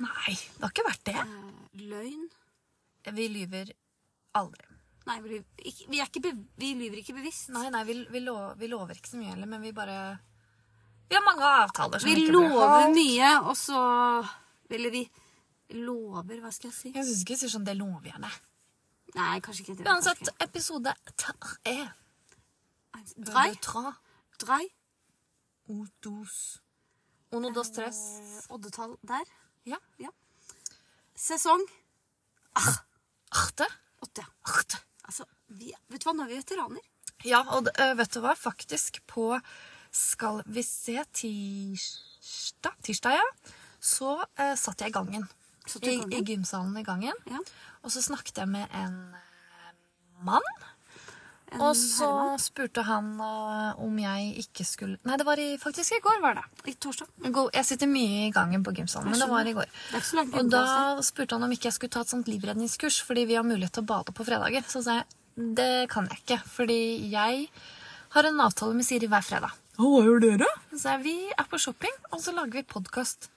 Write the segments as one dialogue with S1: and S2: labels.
S1: Nei, det har ikke vært det.
S2: Eh, Løgn.
S1: Vi lyver aldri.
S2: Nei, vi, lyver ikke, vi, er ikke be, vi lyver ikke bevisst.
S1: Nei, nei, vi, vi, lo- vi lover ikke så mye heller, men vi bare Vi har mange avtaler som
S2: Vi
S1: ikke blir
S2: lover
S1: holdt.
S2: mye, og så Eller vi lover, hva skal jeg si?
S1: Jeg syns ikke vi sier sånn 'det lover jeg deg'.
S2: Nei, kanskje ikke. det.
S1: Uansett, episode tre er
S2: Drei.
S1: Le Tre.
S2: Drei.
S1: O dos. Uno dos tres.
S2: Eh, Oddetall der.
S1: Ja.
S2: Sesong
S1: Arte.
S2: åtte. ja.
S1: Arte.
S2: Altså, vi, vet du hva, nå er vi veteraner.
S1: Ja, og det- øh, vet du hva? Faktisk på Skal vi se tirsdag, tirsdag ja, så eh, satt jeg i gangen.
S2: Så til
S1: I, I
S2: gangen.
S1: gymsalen i gangen.
S2: Ja.
S1: Og så snakket jeg med en eh, mann.
S2: En
S1: og så
S2: herremann.
S1: spurte han eh, om jeg ikke skulle Nei, det var i, faktisk i går. var det.
S2: I torsdag.
S1: I går- Jeg sitter mye i gangen på gymsalen,
S2: Jeg
S1: men det var
S2: skjønner.
S1: i går.
S2: Det er ikke så langt
S1: Og
S2: unna, altså.
S1: da spurte han om ikke jeg skulle ta et sånt livredningskurs, fordi vi har mulighet til å bade på fredager. Så sa jeg det kan jeg ikke, fordi jeg har en avtale med Siri hver fredag. Hva gjør dere? Så sa jeg vi er på shopping, og så lager vi podkast.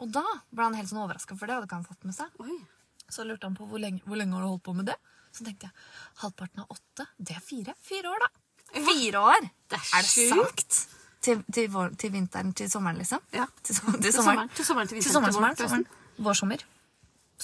S1: Og da ble han helt sånn overraska, for det hadde ikke han fått med seg.
S2: Oi.
S1: Så lurte han på hvor lenge, hvor lenge har du holdt på med det. Så tenkte jeg halvparten av åtte, det er fire. Fire år, da. Fire år?
S2: Det er,
S1: Er det sant? Til, til, vår, til vinteren, til sommeren, liksom?
S2: Ja.
S1: Til, som- til
S2: Til
S1: sommeren.
S2: sommeren, til sommeren, til
S1: Til
S2: vinteren,
S1: sommeren,
S2: til våren,
S1: sommeren,
S2: til
S1: sommeren. Vår sommer.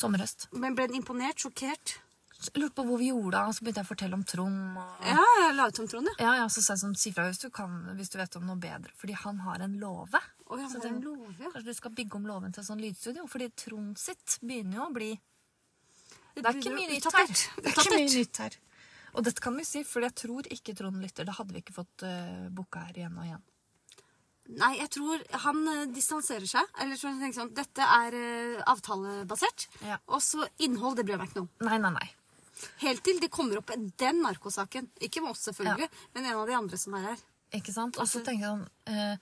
S1: Sommerhøst.
S2: Men ble den imponert? Sjokkert?
S1: Så Lurte på hvor vi gjorde av, og så begynte jeg å fortelle om Trond. Og...
S2: Ja, jeg la ut om Trond, ja.
S1: Ja, ja, så sa jeg sånn, si fra hvis du kan, hvis du vet om noe bedre, fordi han har en låve.
S2: Oi, han
S1: Så
S2: har
S1: den-
S2: en låve, ja.
S1: Kanskje du skal bygge om låven til sånn lydstudio, fordi Trond sitt begynner jo å bli... Det er ikke mye nytt her. Det er ikke mye nytt her. Og dette kan vi si, for jeg tror ikke Trond lytter. Det hadde vi ikke fått uh, boka her igjen og igjen.
S2: Nei, jeg tror han eh, distanserer seg. Eller så tenker jeg sånn, dette er eh, avtalebasert.
S1: Ja.
S2: Og så innhold, det bryr jeg meg ikke noe om.
S1: Nei, nei, nei.
S2: Helt til det kommer opp den narkosaken. Ikke med oss, selvfølgelig, men en av de andre som er her.
S1: Ikke sant? Og så tenker jeg sånn eh,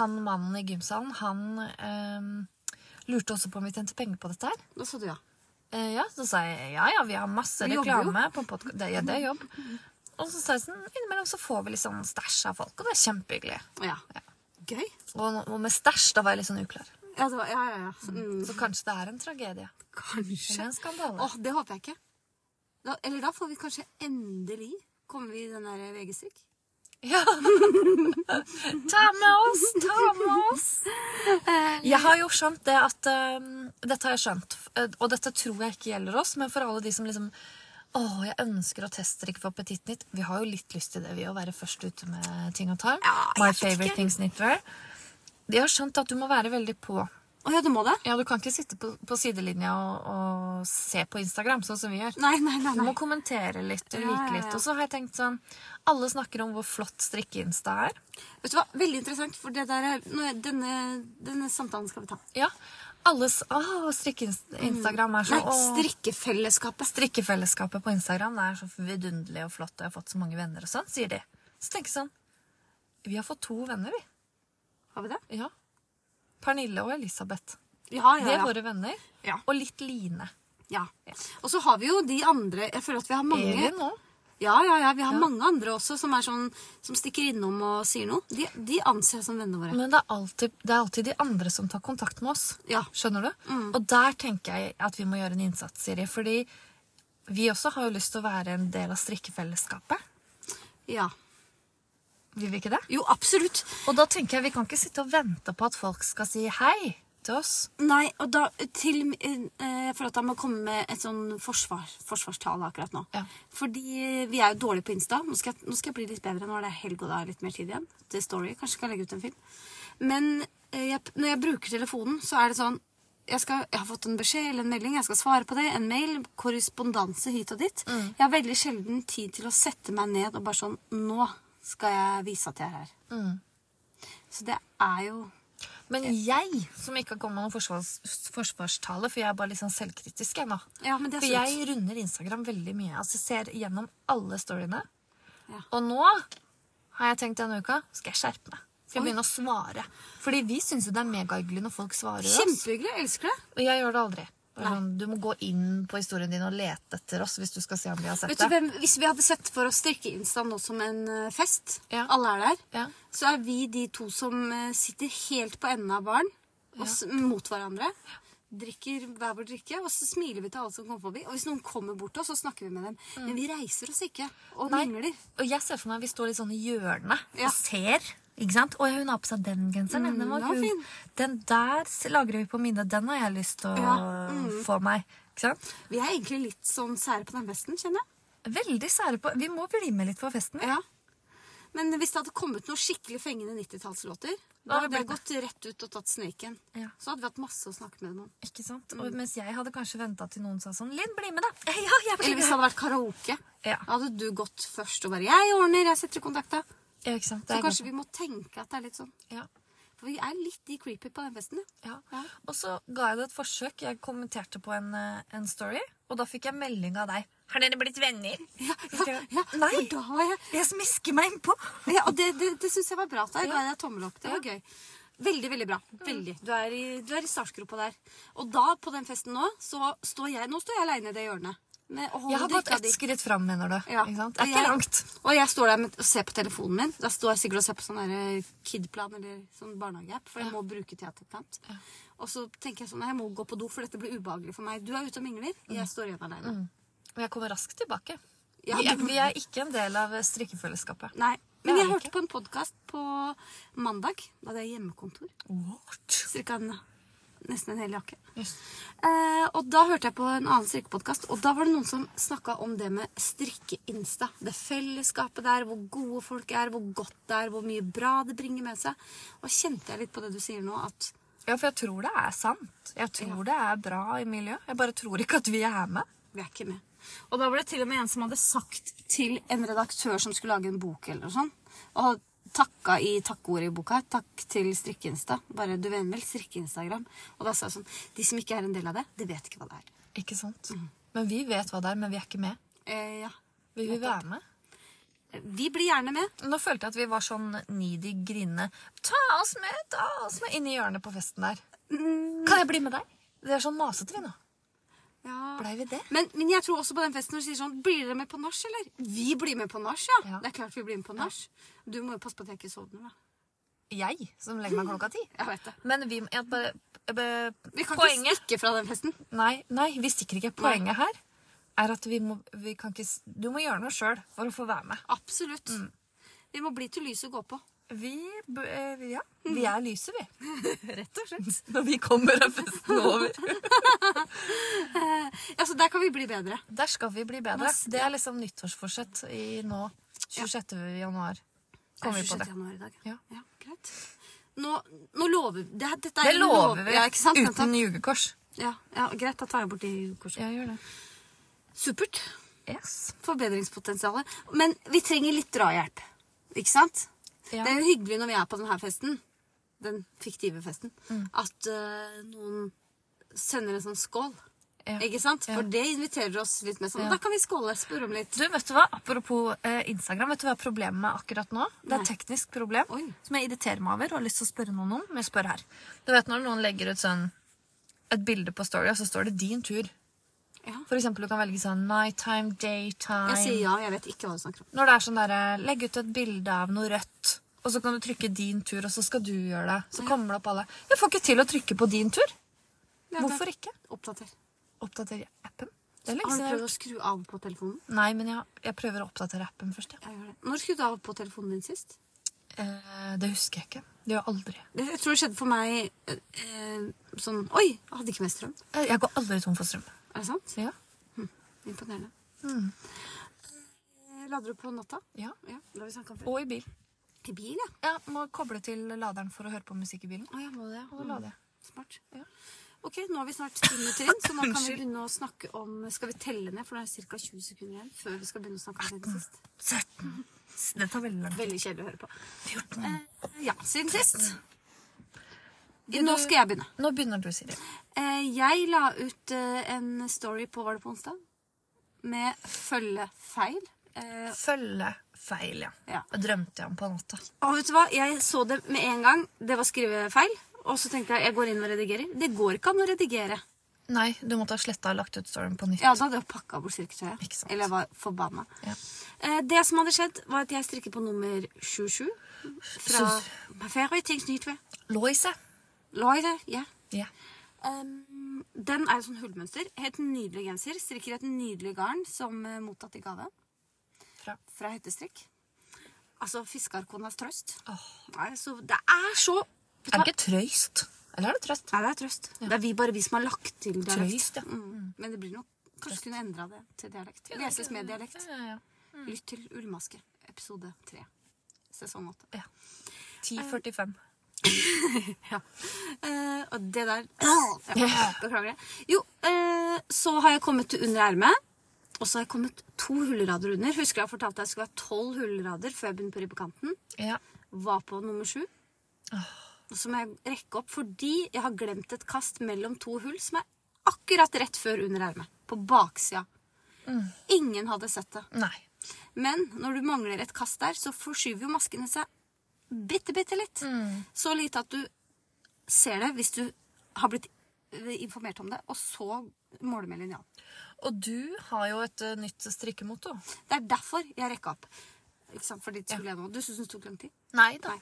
S1: Han mannen i gymsalen, han eh, lurte også på om vi tjente penger på dette her.
S2: Da sa du ja.
S1: Eh, ja, så sa jeg ja, ja, vi har masse
S2: Vi jobber
S1: reklame på podkast. Det, ja, det er jobb. Og så sa jeg sånn innimellom så får vi litt sånn stæsj av folk, og det er kjempehyggelig.
S2: ja. Gøy.
S1: Og, og med stæsj, da var jeg litt sånn uklar.
S2: Ja, det var, ja, ja, ja. Så, mm,
S1: Så kanskje det er en tragedie.
S2: kanskje.
S1: Eller en skandale.
S2: Åh, det håper jeg ikke. Da, eller da får vi kanskje endelig Kommer vi i den der VG-strikk?
S1: Ja. ta med oss, ta med oss. Eh, Jeg har jo skjønt det at eh, Dette har jeg skjønt, eh, og dette tror jeg ikke gjelder oss, men for alle de som liksom å, jeg ønsker å teststrikke for Petit Nytt. Vi har jo litt lyst til det, vi, å være først ute med ting og tang.
S2: Ja, jeg
S1: My
S2: vet
S1: favorite
S2: ikke.
S1: things knitwear. De har skjønt at du må være veldig på.
S2: Å ja, du må det?
S1: Ja, Du kan ikke sitte på, på sidelinja og, og se på Instagram, sånn som vi gjør.
S2: Nei, nei, nei.
S1: Du må
S2: nei.
S1: kommentere litt og
S2: Ja, ja,
S1: like litt.
S2: ja.
S1: Og så har jeg tenkt sånn Alle snakker om hvor flott strikke-insta er.
S2: Vet du hva, Veldig interessant, for det der er, nå er denne, denne samtalen skal vi ta.
S1: Ja. Alles ah, Å, strikke-instagram er så
S2: Mm. Nei,
S1: åh.
S2: strikkefellesskapet.
S1: Strikkefellesskapet på Instagram det er så vidunderlig og flott, og jeg har fått så mange venner og sånn, sier de. Så tenker jeg sånn Vi har fått to venner, vi.
S2: Har vi det?
S1: Ja. Pernille og Elisabeth.
S2: Ja,
S1: De
S2: ja,
S1: er
S2: ja.
S1: våre venner.
S2: Ja.
S1: Og litt Line.
S2: ja. Og så har vi jo de andre Jeg føler at vi har mange
S1: Elin òg.
S2: Ja, ja, ja, vi har mange andre også som, er sånn, som stikker innom og sier noe. De, de anser jeg som vennene våre.
S1: Men det er, alltid, det er alltid de andre som tar kontakt med oss.
S2: Ja. Mm.
S1: Skjønner du? Og der tenker jeg at vi må gjøre en innsats, Siri. Fordi vi også har jo lyst til å være en del av strikkefellesskapet.
S2: ja.
S1: Vil vi ikke det?
S2: Jo, absolutt.
S1: Og da tenker jeg vi kan ikke sitte og vente på at folk skal si hei til oss.
S2: Nei, og da til eh, For at jeg må komme med et sånn forsvar, forsvarstale akkurat nå.
S1: Ja.
S2: Fordi vi er jo dårlige på Insta. Nå skal, jeg, nå skal jeg bli litt bedre. Nå er det helg, og det er litt mer tid igjen. Det er story. Kanskje skal jeg legge ut en film. Men eh, jeg, når jeg bruker telefonen, så er det sånn jeg, skal, jeg har fått en beskjed eller en melding, jeg skal svare på det. En mail, korrespondanse hit og dit. Jeg har veldig sjelden tid til å sette meg ned og bare sånn Nå skal jeg vise at jeg er her. Så det er jo
S1: Men jeg, som ikke har kommet med noen forsvars, forsvarstale, for jeg er bare litt sånn selvkritisk jeg nå
S2: Ja, men det
S1: For
S2: er sunt.
S1: jeg runder Instagram veldig mye. Altså ser gjennom alle storyene.
S2: Ja.
S1: Og nå har jeg tenkt denne uka skal jeg skjerpe meg. Skal jeg begynne å svare. Fordi vi syns jo det er megahyggelig når folk svarer oss.
S2: Kjempehyggelig. Jeg elsker det.
S1: Og jeg gjør det aldri. Bare Sånn, du må gå inn på historien din og lete etter oss hvis du skal se om vi har sett
S2: Vet du
S1: det.
S2: hvem, hvis vi hadde sett for oss Strikke-Insta nå som en eh, fest,
S1: Ja.
S2: alle er der,
S1: Ja.
S2: så er vi de to som eh, sitter helt på enden av baren og s- mot hverandre. Drikker hver vår drikke, og så smiler vi til alle som kommer forbi. Og hvis noen kommer bort til oss, så snakker vi med dem. Men vi reiser oss ikke og
S1: Mm. Nei.
S2: mingler.
S1: Og jeg ser for meg vi står litt sånn i hjørnet
S2: Ja. Mm,
S1: og ser. Ikke sant? Og hun har på seg den genseren. den, var
S2: den var
S1: kul.
S2: fin.
S1: den der lagrer vi på minnet. Den har jeg lyst til å
S2: Ja. Mm.
S1: få meg. Ikke sant?
S2: Vi er egentlig litt sånn sære på den festen, kjenner jeg.
S1: Veldig sære på Vi må bli med litt på festen.
S2: Ja. Men hvis det hadde kommet noen skikkelig fengende 90-tallslåter, da
S1: Da hadde
S2: hadde jeg
S1: det
S2: gått rett ut og tatt sniken.
S1: Ja.
S2: Så hadde vi hatt masse å snakke med dem om.
S1: Ikke sant? Og mens jeg hadde kanskje venta til noen sa sånn Linn, bli med, da! sånn. Ja, jeg blir
S2: Eller hvis det
S1: med.
S2: hadde vært karaoke.
S1: Ja.
S2: Da hadde du gått først og bare 'Jeg ordner, jeg setter kontakta'.
S1: Ja, ikke sant?
S2: Så
S1: Det er
S2: kanskje vi
S1: godt.
S2: må tenke at det er litt sånn.
S1: ja.
S2: For vi er litt de creepy på den festen. ja.
S1: Ja. Og så ga jeg det et forsøk. Jeg kommenterte på en, eh, en story, og da fikk jeg melding av deg. Har dere blitt venner? Husker
S2: Ja,
S1: jeg-
S2: ja, for
S1: Nei!
S2: da var jeg
S1: Jeg smisker meg innpå.
S2: ja, Og det, det, det syns jeg var bra. Da ga jeg deg tommel opp. Det var gøy. Veldig, veldig bra.
S1: Mm.
S2: Veldig. Du er i, du er i startgropa der. Og da, på den festen nå, så står jeg Nå står jeg aleine i det hjørnet. Med, og holder
S1: Jeg har gått
S2: drikka
S1: ett
S2: di.
S1: skritt fram, mener du.
S2: Ja.
S1: Ikke sant? Det er
S2: Og
S1: ikke
S2: jeg-
S1: langt.
S2: Og jeg står der med, og ser på telefonen min. Da står jeg sikkert og ser på sånn der, eh, Kidplan eller sånn barnehageapp, for jeg må bruke teaterplant. Og så tenker jeg sånn Jeg må gå på do, for dette blir ubehagelig for meg. Du er ute og mingler,
S1: Mm.
S2: jeg står igjen alene.
S1: Og jeg kommer raskt tilbake.
S2: Ja,
S1: vi, er,
S2: du-
S1: vi er ikke en del av strikkefellesskapet.
S2: Nei. Men
S1: Det
S2: jeg
S1: er det
S2: hørte
S1: ikke.
S2: på en podkast på mandag. Da hadde jeg hjemmekontor.
S1: What?
S2: Strikka en, nesten en hel jakke.
S1: Yes.
S2: Eh, og da hørte jeg på en annen strikkepodkast, og da var det noen som snakka om det med strikke-insta. Det fellesskapet der, hvor gode folk er, hvor godt det er, hvor mye bra det bringer med seg. Og kjente jeg litt på det du sier nå, at
S1: Ja, for jeg tror det er sant. Jeg tror det er bra i miljøet. Jeg bare tror ikke at vi er med.
S2: vi er ikke med. Og da var det til og med en som hadde sagt til en redaktør som skulle lage en bok eller noe sånt, og takka i takkeordet i boka, takk til strikkeinsta, bare du vet vel, strikkeinstagram. Og da sa jeg sånn, de som ikke er en del av det, de vet ikke hva det er.
S1: Ikke sant?
S2: Mm.
S1: Men vi vet hva det er, men vi er ikke med.
S2: Eh, ja.
S1: Vi vil være med.
S2: Vi blir gjerne med.
S1: Nå følte jeg at vi var sånn needy, grinende Ta oss med! ta oss med Inni hjørnet på festen der.
S2: Mm.
S1: Kan jeg bli med deg? Det er sånn masete vi nå.
S2: Ja.
S1: Blei vi det?
S2: Men, men jeg tror også på den festen når du sier sånn Blir dere med på nach, eller? Vi blir med på nach, ja.
S1: Ja.
S2: Det er klart vi blir med på nach. Du må jo passe på at jeg ikke sovner, da.
S1: Jeg som legger meg klokka ti.
S2: Jeg vet det.
S1: Men vi jeg bare, jeg bare,
S2: Vi kan
S1: Poenget
S2: ikke stikke fra den festen.
S1: nei, nei, vi stikker ikke. Poenget her er at vi må vi kan ikke, s- Du må gjøre noe sjøl for å få være med.
S2: Absolutt.
S1: Mm.
S2: Vi må bli til lyset går på.
S1: Vi, b- eh, ja, vi er lyset, vi. Rett og slett. Når vi kommer, er festen over.
S2: Altså, der kan vi bli bedre.
S1: Der skal vi bli bedre. Det er liksom nyttårsforsett i nå. 26. januar. Kommer vi på det.
S2: 26. januar i dag.
S1: Ja.
S2: ja greit. Nå, nå lover vi det, dette er
S1: Det
S2: en
S1: lover
S2: lov-
S1: vi.
S2: Ja, ikke sant? Vent
S1: Uten
S2: da.
S1: jugekors.
S2: Ja, ja, greit, da tar jeg bort de korsene.
S1: Ja, gjør det.
S2: Supert.
S1: Yes.
S2: Forbedringspotensialet. Men vi trenger litt drahjelp. Ikke sant?
S1: Ja.
S2: Det er jo hyggelig når vi er på denne festen, den fiktive festen,
S1: Mm.
S2: at eh, noen sender en sånn skål.
S1: Ja.
S2: Ikke sant?
S1: Ja.
S2: For det inviterer oss litt mer sånn.
S1: Ja.
S2: Da kan vi skåle, spørre om litt.
S1: Du, vet du hva? Apropos eh, Instagram, vet du hva er problemet med akkurat nå? Det er et teknisk problem
S2: Oi.
S1: som jeg irriterer meg over og har lyst til å spørre noen om. Men jeg spør her. Du vet når noen legger ut sånn et bilde på Story, og så står det 'din tur'.
S2: Ja.
S1: For eksempel, du kan velge sånn nighttime, daytime
S2: Jeg sier ja, jeg vet ikke hva du snakker om.
S1: Når det er sånn derre Legg ut et bilde av noe rødt, og så kan du trykke 'din tur', og så skal du gjøre det. Så kommer det opp alle. Jeg får ikke til å trykke på 'din tur'.
S2: Ja, da-
S1: Hvorfor ikke?
S2: Oppdater.
S1: Oppdatere appen. Det er
S2: Har du
S1: lenge siden jeg har
S2: prøvd å skru av på telefonen?
S1: Nei, men jeg, jeg prøver å oppdatere appen først. Ja.
S2: Jeg gjør det. Når skrudde du av på telefonen din sist?
S1: Eh, det husker jeg ikke. Det gjør jeg aldri.
S2: Det- Jeg tror det skjedde for meg eh, eh, sånn Oi, jeg hadde ikke mer strøm.
S1: Eh, Jeg går aldri tom for strøm.
S2: Er det sant?
S1: Ja.
S2: Imponerende. Mm. Eh, Lader du på natta?
S1: ja.
S2: Ja, det har vi snakka om før.
S1: Og i bil.
S2: I bil, ja.
S1: Ja, må koble til laderen for å høre på musikk i bilen.
S2: Å, jeg må det.
S1: Og så lader jeg.
S2: Mm. Smart.
S1: Ja.
S2: Ok, nå har vi snart ti minutter inn, så nå kan vi
S1: Unnskyld.
S2: begynne å snakke om Skal vi telle ned, for det er ca. 20 sekunder igjen før vi skal begynne å snakke om siden sist.
S1: 17. Det tar veldig lang tid.
S2: Eh, Veldig kjedelig å høre på. Eh, ja, siden sist.
S1: Du-
S2: Nå skal jeg begynne.
S1: Nå begynner du, Siri.
S2: Eh, Jeg la ut eh, en story på Var det på onsdag? Med følgefeil. Eh,
S1: Følge feil, ja.
S2: Ja.
S1: Det drømte jeg om på natta.
S2: Og vet du hva? Jeg så det med en gang. Det var skrivefeil. Og så tenkte jeg jeg går inn og redigerer. Det går ikke an å redigere.
S1: Nei, du måtte ha sletta og lagt ut storyen på nytt.
S2: Ja, altså, da hadde jeg pakka bort strikketøyet.
S1: Ikke sant.
S2: Eller jeg var forbanna.
S1: Ja.
S2: Eh, Det som hadde skjedd, var at jeg strikket på nummer 27. Fra
S1: Så-
S2: Ferøytingsnytve.
S1: Loise.
S2: Loire. Ja.
S1: Ja.
S2: Um, den er sånn hullmønster. Helt nydelig genser. Strikker i et nydelig garn som eh, mottatt i gave
S1: Fra.
S2: fra Hettestrikk. Altså fiskarkonas trøst.
S1: Åh.
S2: Nei, så det er så
S1: Er det ikke trøyst? Eller er det trøst?
S2: Nei, det er trøst. Det er vi bare vi som har lagt til dialekt.
S1: Trøyst, ja.
S2: Mm. Men det blir nok Kanskje kunne endra det til dialekt. Leses med dialekt.
S1: Ja, ja, ja.
S2: Lytt til Ullmaske, episode tre. Sesong åtte.
S1: Ja. 10.45.
S2: Ja. Eh, og det der ja, Beklager det. Jo, eh, så har jeg kommet til under ermet. Og så har jeg kommet to hullrader under. Husker jeg fortalte at jeg skulle ha tolv hullrader før jeg begynte på ribbekanten.
S1: Ja.
S2: Var på nummer sju. Og så må jeg rekke opp fordi jeg har glemt et kast mellom to hull som er akkurat rett før under ermet. På baksida. Ingen hadde sett det.
S1: Nei.
S2: Men når du mangler et kast der, så forskyver jo maskene seg bitte, bitte litt. Så lite at du ser det hvis du har blitt eh, informert om det, og så måler med linjal.
S1: Og du har jo et eh, nytt strikkemotto.
S2: Det er derfor jeg rekka opp. Ikke sant, fordi det skulle jeg nå. Du syns det tok lang tid?
S1: Nei
S2: Nei.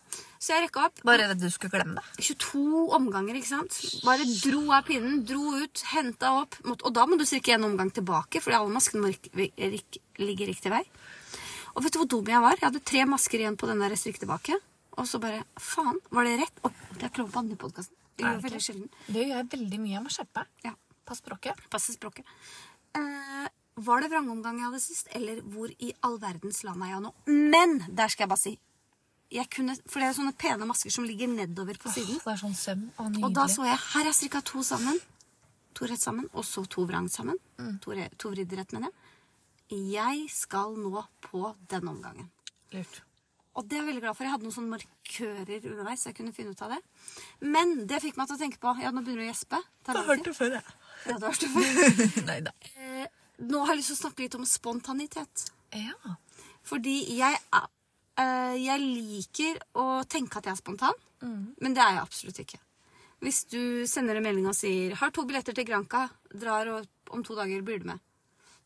S2: Så jeg rekka opp.
S1: Bare redd du skulle glemme det.
S2: 22 omganger, ikke sant? Bare dro av pinnen, dro ut, henta opp. måtte- Og da må du strikke en omgang tilbake, fordi alle maskene må rik- rik- ligge riktig vei. Og vet du hvor dum jeg var? Jeg hadde tre masker igjen på den der strikk tilbake. Og så bare Faen, var det rett? Oh, det er klov på andre podkasten. Det
S1: Er
S2: gjør
S1: det
S2: veldig
S1: ikke?
S2: sjelden.
S1: Det gjør jeg veldig mye. Jeg må skjerpe meg.
S2: Ja,
S1: Pass språket.
S2: Passe språket. Eh, var det vrangomgang jeg hadde sist, eller hvor i all verdens land er jeg nå? Men der skal jeg bare si jeg kunne, For det er sånne pene masker som ligger nedover på siden.
S1: Det er sånn søm. Å, nydelig.
S2: Og da så jeg her er strikka to sammen. To rett sammen, og så to vrang sammen.
S1: Mm.
S2: To, re, to vridd rett, mener jeg. Jeg skal nå på den omgangen.
S1: Lurt.
S2: Og det er jeg veldig glad for. Jeg hadde noen sånne markører underveis. så jeg kunne finne ut av det. Men det fikk meg til å tenke på Ja, nå begynner du å gjespe. Tar lang tid.
S1: det før, jeg.
S2: Ja, du har hørt det før.
S1: Nei da.
S2: Eh, Nå har jeg lyst til å snakke litt om spontanitet.
S1: Ja.
S2: Fordi jeg, er- eh, jeg liker å tenke at jeg er spontan,
S1: Mm.
S2: men det er jeg absolutt ikke. Hvis du sender en melding og sier 'Har to billetter til Granca. Drar og om to dager blir du med.'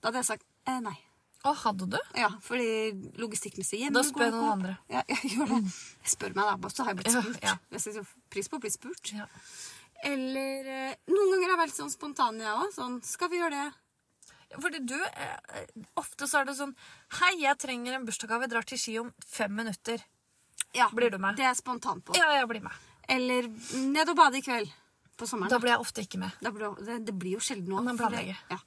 S2: Da hadde jeg sagt eh, nei.
S1: Og hadde du?
S2: Ja, fordi logistikkmessig hjemme
S1: Da
S2: går
S1: spør jeg
S2: det
S1: noen
S2: ikke.
S1: andre. Mm.
S2: Ja, jeg gjør det. Jeg spør meg da, bare så har jeg blitt
S1: Ja,
S2: spurt.
S1: ja.
S2: Jeg setter jo pris på å bli spurt.
S1: Ja.
S2: Eller eh, Noen ganger har jeg vært sånn spontan, jeg òg. Sånn 'Skal vi gjøre det?'
S1: Fordi du, eh, ofte så er det sånn Hei, jeg trenger en bursdagsgave. Jeg drar til Ski om fem minutter.
S2: Ja,
S1: Blir du med?
S2: Det er jeg spontan på.
S1: Ja, jeg blir med.
S2: Eller 'Ned og bade i kveld'. På sommeren.
S1: Da blir jeg ofte ikke med.
S2: Da blir det, det, det blir jo sjelden noe.
S1: Man
S2: for det-
S1: planlegger.
S2: Ja.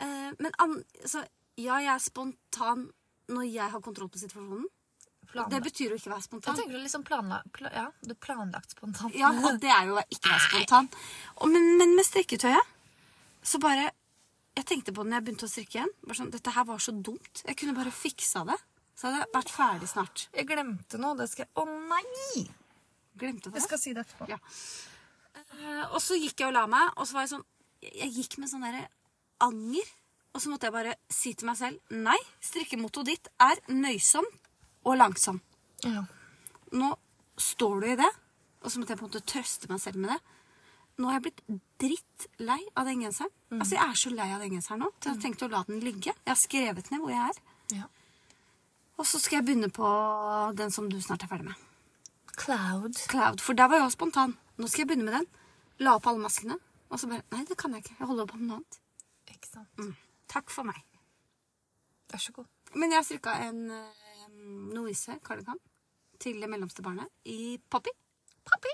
S2: Eh, men an, så, ja, jeg er spontan når jeg har kontroll på situasjonen. Det
S1: Planlagt.
S2: betyr jo ikke å være
S1: Jeg
S2: spontan.
S1: tenker du liksom planla, pla, ja, du planlagt spontant.
S2: Ja, og det er jo å ikke være spontan. Og, men, men med strikketøyet så bare Jeg tenkte på det når jeg begynte å strikke igjen. Bare sånn, Dette her var så dumt. Jeg kunne bare fiksa det. Så hadde jeg vært ferdig snart.
S1: Jeg glemte noe. Det skal jeg Å nei!
S2: Glemte det.
S1: si det etterpå.
S2: Ja. Eh, og så gikk jeg og la meg, og så var jeg sånn Jeg jeg gikk med sånn derre anger. Og så måtte jeg bare si til meg selv Nei, strikkemottoet ditt er nøysom og langsom.
S1: Ja.
S2: Nå står du i det. Og så måtte jeg på en måte trøste meg selv med det. Nå har jeg blitt drittlei av den genseren. Altså, jeg er så lei av den genseren nå. Så jeg har tenkt å la den ligge. Jeg har skrevet ned hvor jeg er.
S1: ja.
S2: Og så skal jeg begynne på den som du snart er ferdig med.
S1: Cloud.
S2: Cloud, for der var jeg også spontan. Nå skal jeg begynne med den. La opp alle maskene. Og så bare Nei, det kan jeg ikke. Jeg holder på med noe annet.
S1: Ikke sant.
S2: Mm. Takk for meg.
S1: Vær så god.
S2: Men jeg strikka en eh, Noise kardigan til det mellomste barnet i Poppy.
S1: Pappi.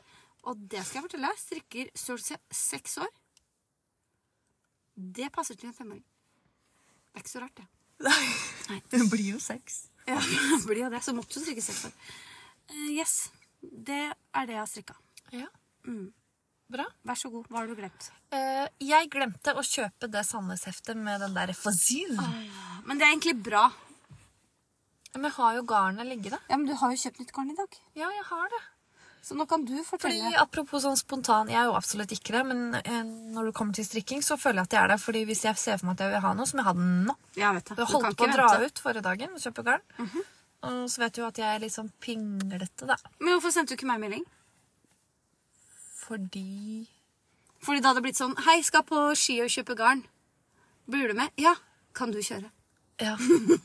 S2: Og det skal jeg fortelle deg. Strikker stort sett seks år. Det passer til en femåring. Det er ikke så rart, det. Nei.
S1: Det blir jo sex.
S2: Ja, det blir jo det. Så måtte du strikke seks år. Eh, yes. Det er det jeg har strikka.
S1: Ja.
S2: Mm.
S1: Bra.
S2: Vær så god. Hva har du glemt?
S1: Eh, jeg glemte å kjøpe det Sandnes-heftet med den der fossil.
S2: Ah. Men det er egentlig bra.
S1: Men jeg har jo garnet liggende.
S2: Ja, Men du har jo kjøpt nytt garn i dag.
S1: Ja, jeg har det.
S2: Så nå kan du
S1: Fordi
S2: fortelle.
S1: Apropos sånn spontan, jeg er jo absolutt ikke det, men eh, når det kommer til strikking, så føler jeg at jeg er det. Fordi hvis jeg ser for meg at jeg vil ha noe, så må jeg ha den nå.
S2: Ja, vet
S1: Jeg holdt på å dra ut forrige dagen og kjøpe garn.
S2: Mhm.
S1: Og så vet du jo at jeg er litt sånn pinglete, da.
S2: Men hvorfor sendte du ikke meg melding?
S1: Fordi
S2: Fordi det hadde blitt sånn Hei, skal på ski og kjøpe garn. Blir du med? Ja. Kan du kjøre?
S1: Ja.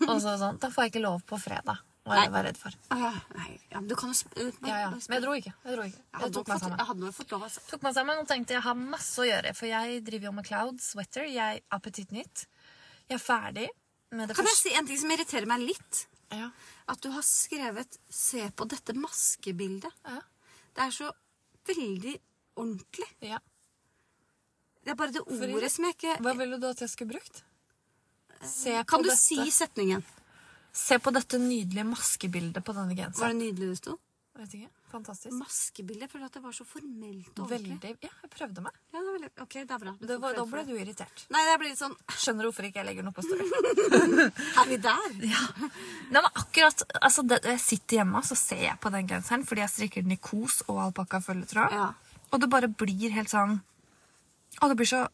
S1: Og så sånn Da får jeg ikke lov på fredag. Hva jeg
S2: Nei.
S1: var redd for.
S2: Å ja. Nei, ja, men du kan jo sp eh,
S1: Ja, ja.
S2: bare
S1: Men
S2: sp-
S1: jeg dro ikke. Jeg dro ikke.
S2: Jeg
S1: Jeg
S2: hadde
S1: tok
S2: nok
S1: meg
S2: fått,
S1: sammen.
S2: jeg hadde nok fått lov, altså.
S1: tok meg sammen og tenkte jeg har masse å gjøre, for jeg driver jo med Cloud Sweater. Jeg er Petit Nytt. Jeg er ferdig med det
S2: Kan jeg si en ting som irriterer meg litt?
S1: Ja.
S2: At du har skrevet 'se på dette maskebildet'.
S1: Ja.
S2: Det er så veldig ordentlig.
S1: ja.
S2: Det er bare det ordet som jeg ikke
S1: Hva ville du at jeg skulle brukt? Se på,
S2: Eh, Kan du
S1: dette.
S2: si setningen?
S1: Se på dette nydelige maskebildet på denne
S2: Var
S1: genseren.
S2: det nydelig det sto?
S1: Vet ikke. Fantastisk.
S2: Maskebilde. Jeg føler at det var så formelt og ordentlig.
S1: Veldig Ja, jeg prøvde meg.
S2: Ja, det er veldig. Ok, det er bra. Du
S1: Det
S2: får
S1: var,
S2: kred
S1: da
S2: for
S1: ble
S2: det.
S1: du irritert.
S2: Nei, jeg blir litt sånn
S1: Skjønner hvorfor ikke jeg legger den opp på story.
S2: Er vi der?
S1: Nei, men akkurat, altså, det, jeg sitter hjemme og så ser jeg på den genseren, fordi jeg strikker den i kos og alpakkafølgetråd.
S2: Ja.
S1: Og det bare blir helt sånn Og det blir så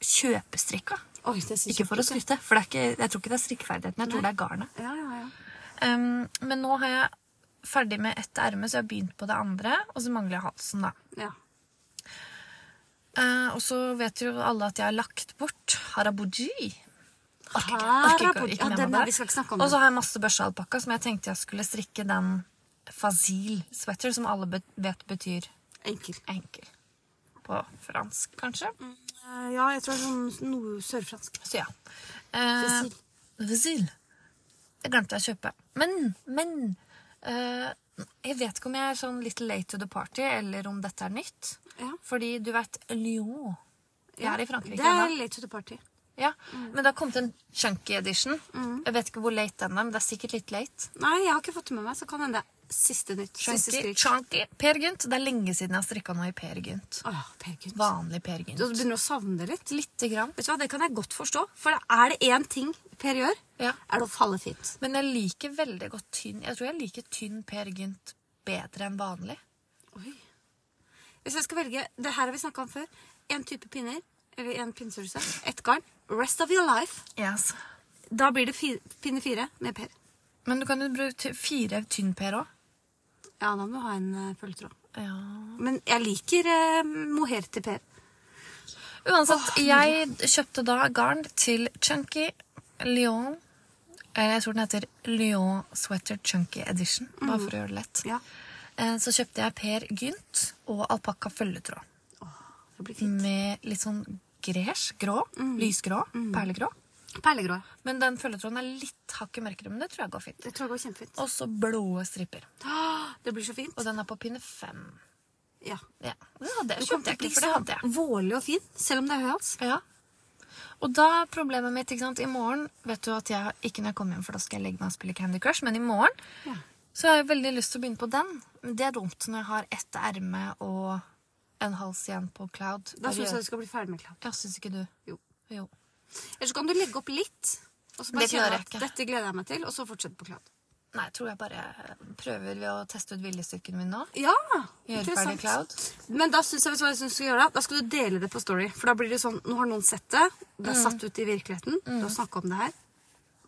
S1: kjøpestrikka.
S2: Oi, det synes
S1: Ikke
S2: jeg
S1: for å skryte, for det er ikke, jeg tror ikke det er strikkeferdigheten. Jeg tror
S2: Nei.
S1: det er garnet.
S2: Ja, ja, ja.
S1: Um, men nå har jeg ferdig med ett erme, så jeg har begynt på det andre. Og så mangler jeg halsen, da.
S2: ja.
S1: Eh, og så vet jo alle at jeg har lagt bort harabuji. Orker ikke, orker ikke,
S2: Harabuji.
S1: ikke
S2: Ja,
S1: mer
S2: den
S1: med
S2: er-
S1: det.
S2: vi skal ikke snakke om
S1: Og
S2: den.
S1: så har jeg masse børsealpakka som jeg tenkte jeg skulle strikke den fazil sweater, som alle be vet betyr
S2: Enkel.
S1: enkel. På fransk, kanskje.
S2: Mm. ja, jeg tror det er sånn noe sørfransk.
S1: Så ja. Eh,
S2: Fazil.
S1: Fazil. Det glemte jeg å kjøpe. Men, men eh, Jeg vet ikke om jeg er sånn litt late to the party, eller om dette er nytt.
S2: Ja.
S1: Fordi du vet Lyon Jeg er i Frankrike
S2: Det
S1: ennå.
S2: er late to the party.
S1: Ja, Men det har kommet en chunky edition. Jeg vet ikke hvor late den er, men det er sikkert litt late.
S2: Nei, jeg har ikke fått det med meg, så kan hende det er siste nytt. Siste
S1: Chunky,
S2: skrik.
S1: chunky. Per Gynt. Det er lenge siden jeg har strikka noe i Per Gynt.
S2: Åh, Per Gynt.
S1: Vanlig Per
S2: Du
S1: Gynt.
S2: begynner å savne det litt.
S1: Lite grann.
S2: Vet du hva, Det kan jeg godt forstå, for er det én ting Per gjør,
S1: Ja.
S2: er det å falle fint.
S1: Men jeg liker veldig godt tynn Jeg tror jeg liker tynn Per Gynt bedre enn vanlig.
S2: Oi. Hvis jeg skal velge Det her har vi snakka om før. Én type pinner, eller én pinnestørrelse. Ett garn. Rest of your life.
S1: Yes.
S2: Da blir det fi pinne fire med Per.
S1: Men du kan jo bruke ty- fire tynn Per òg.
S2: Ja, da må du ha en uh, følgetråd.
S1: Ja.
S2: Men jeg liker eh, mohair til Per.
S1: Uansett, jeg kjøpte da garn til Chunky Lyon. Eller jeg tror den heter Lyon Sweater Chunky Edition. Bare for å gjøre det lett.
S2: Mm. Ja,
S1: Eh, Så kjøpte jeg Per Gynt og alpakka følgetråd.
S2: det blir fint.
S1: Med litt sånn gresj, grå,
S2: Mm.
S1: lysgrå, perlegrå.
S2: Perlegrå.
S1: Men den følgetråden er litt hakket mørkere, men det tror jeg går fint.
S2: Det tror jeg går kjempefint.
S1: Og så blå striper.
S2: Åh, Det blir så fint.
S1: Og den er på pinne fem.
S2: Ja.
S1: Ja, det hadde
S2: Du
S1: jeg.
S2: kommer til å
S1: Kjøpte jeg
S2: bli
S1: ikke, for det hadde jeg.
S2: så vårlig og fin, selv om det er høy hals.
S1: Ja. Og da er problemet mitt, ikke sant, i morgen Vet du at jeg ikke når jeg kommer hjem, for da skal jeg legge meg og spille Candy Crush, men i morgen
S2: Ja.
S1: så har jeg veldig lyst til å begynne på den. Men det er dumt når jeg har ett erme og en hals igjen på Cloud.
S2: Da syns jeg
S1: jeg
S2: du skal bli ferdig med klart.
S1: Ja, syns ikke du?
S2: Jo.
S1: Jo.
S2: Eller så kan du legge opp litt. Og så bare
S1: Det klarer
S2: kjenne
S1: jeg
S2: at
S1: ikke.
S2: dette gleder jeg meg til, og så fortsette på klart.
S1: Nei, jeg tror jeg bare prøver ved å teste ut viljestyrken min nå.
S2: Ja,
S1: Gjøre
S2: interessant.
S1: ferdig Cloud.
S2: Men da synes jeg, vet du hva jeg synes du skal gjøre da? Da skal du dele det på Story. For da blir det sånn, nå har noen sett det, det er
S1: Mm.
S2: satt ut i virkeligheten, du har snakket om det her.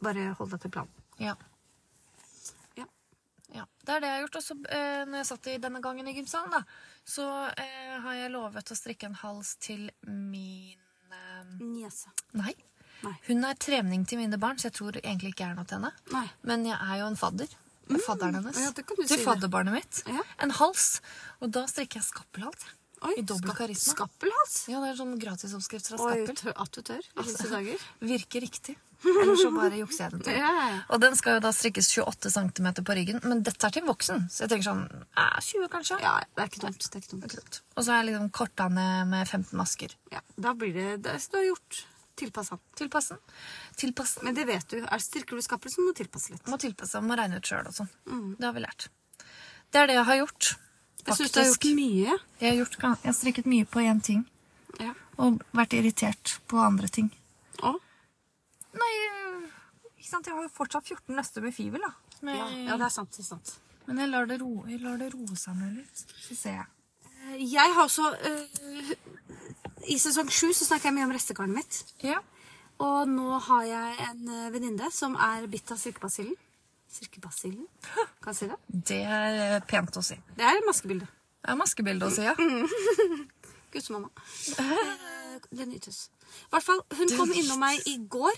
S2: Bare hold deg til planen.
S1: Ja.
S2: Ja.
S1: Ja, Det er det jeg har gjort. Og så eh, når jeg satt i denne gangen i gymsalen, da, så eh, har jeg lovet å strikke en hals til min eh,
S2: Niese.
S1: Nei.
S2: Nei.
S1: Hun er trening til mine barn, så jeg tror egentlig ikke jeg er noe til henne.
S2: Nei. Mm.
S1: Men jeg er jo en fadder. Jeg er Fadderen hennes.
S2: Ja, det kan du
S1: til
S2: si det.
S1: fadderbarnet mitt.
S2: Ja.
S1: En hals. Og da strikker jeg skappelhals. jeg.
S2: Oi,
S1: I dobbel
S2: skap-
S1: karisma.
S2: Skappelhals.
S1: Ja, det er sånn gratisoppskrift fra
S2: Oi,
S1: Skappel. Altså,
S2: tør, at du tør. i disse dager.
S1: Virker riktig. Eller så bare jukser jeg den til.
S2: Ja, ja, ja.
S1: Og den skal jo da strikkes 28 cm på ryggen, men dette er til voksen. Så jeg tenker sånn eh, 20 kanskje.
S2: Ja, det er ikke dumt. Det er ikke dumt.
S1: Og så har jeg liksom korta ned med 15 masker.
S2: Ja, da blir det, det så du har gjort tilpasset.
S1: Tilpassen. Tilpassen.
S2: Men det vet du. Er styrker du skappel, så må du tilpasse litt.
S1: Må tilpasse seg, må regne ut sjøl og sånn. Det har vi lært. Det er det jeg har gjort.
S2: Mm. Jeg synes du har gjort
S1: Faktisk.
S2: mye.
S1: Jeg har, gjort, gan- jeg har strikket mye på én ting,
S2: Ja.
S1: og vært irritert på andre ting.
S2: Å,
S1: Nei, ikke sant, jeg har jo fortsatt 14 nøster med fivel, da. Med,
S2: ja, ja, det er sant. Det er sant.
S1: Men jeg lar det roe, jeg lar det roe seg ned litt, så ser jeg.
S2: Jeg har også eh, I sesong sju så snakker jeg mye om restegarnet mitt.
S1: Ja.
S2: Og nå har jeg en eh, venninne som er bitt av silkebasillen. Silkebasillen? Kan jeg si det?
S1: Det er eh, pent å si.
S2: Det er maskebildet.
S1: Det er maskebilde å si, ja.
S2: Mm. Guttemamma. Eh, Det nytes. I hvert fall, hun kom innom meg i går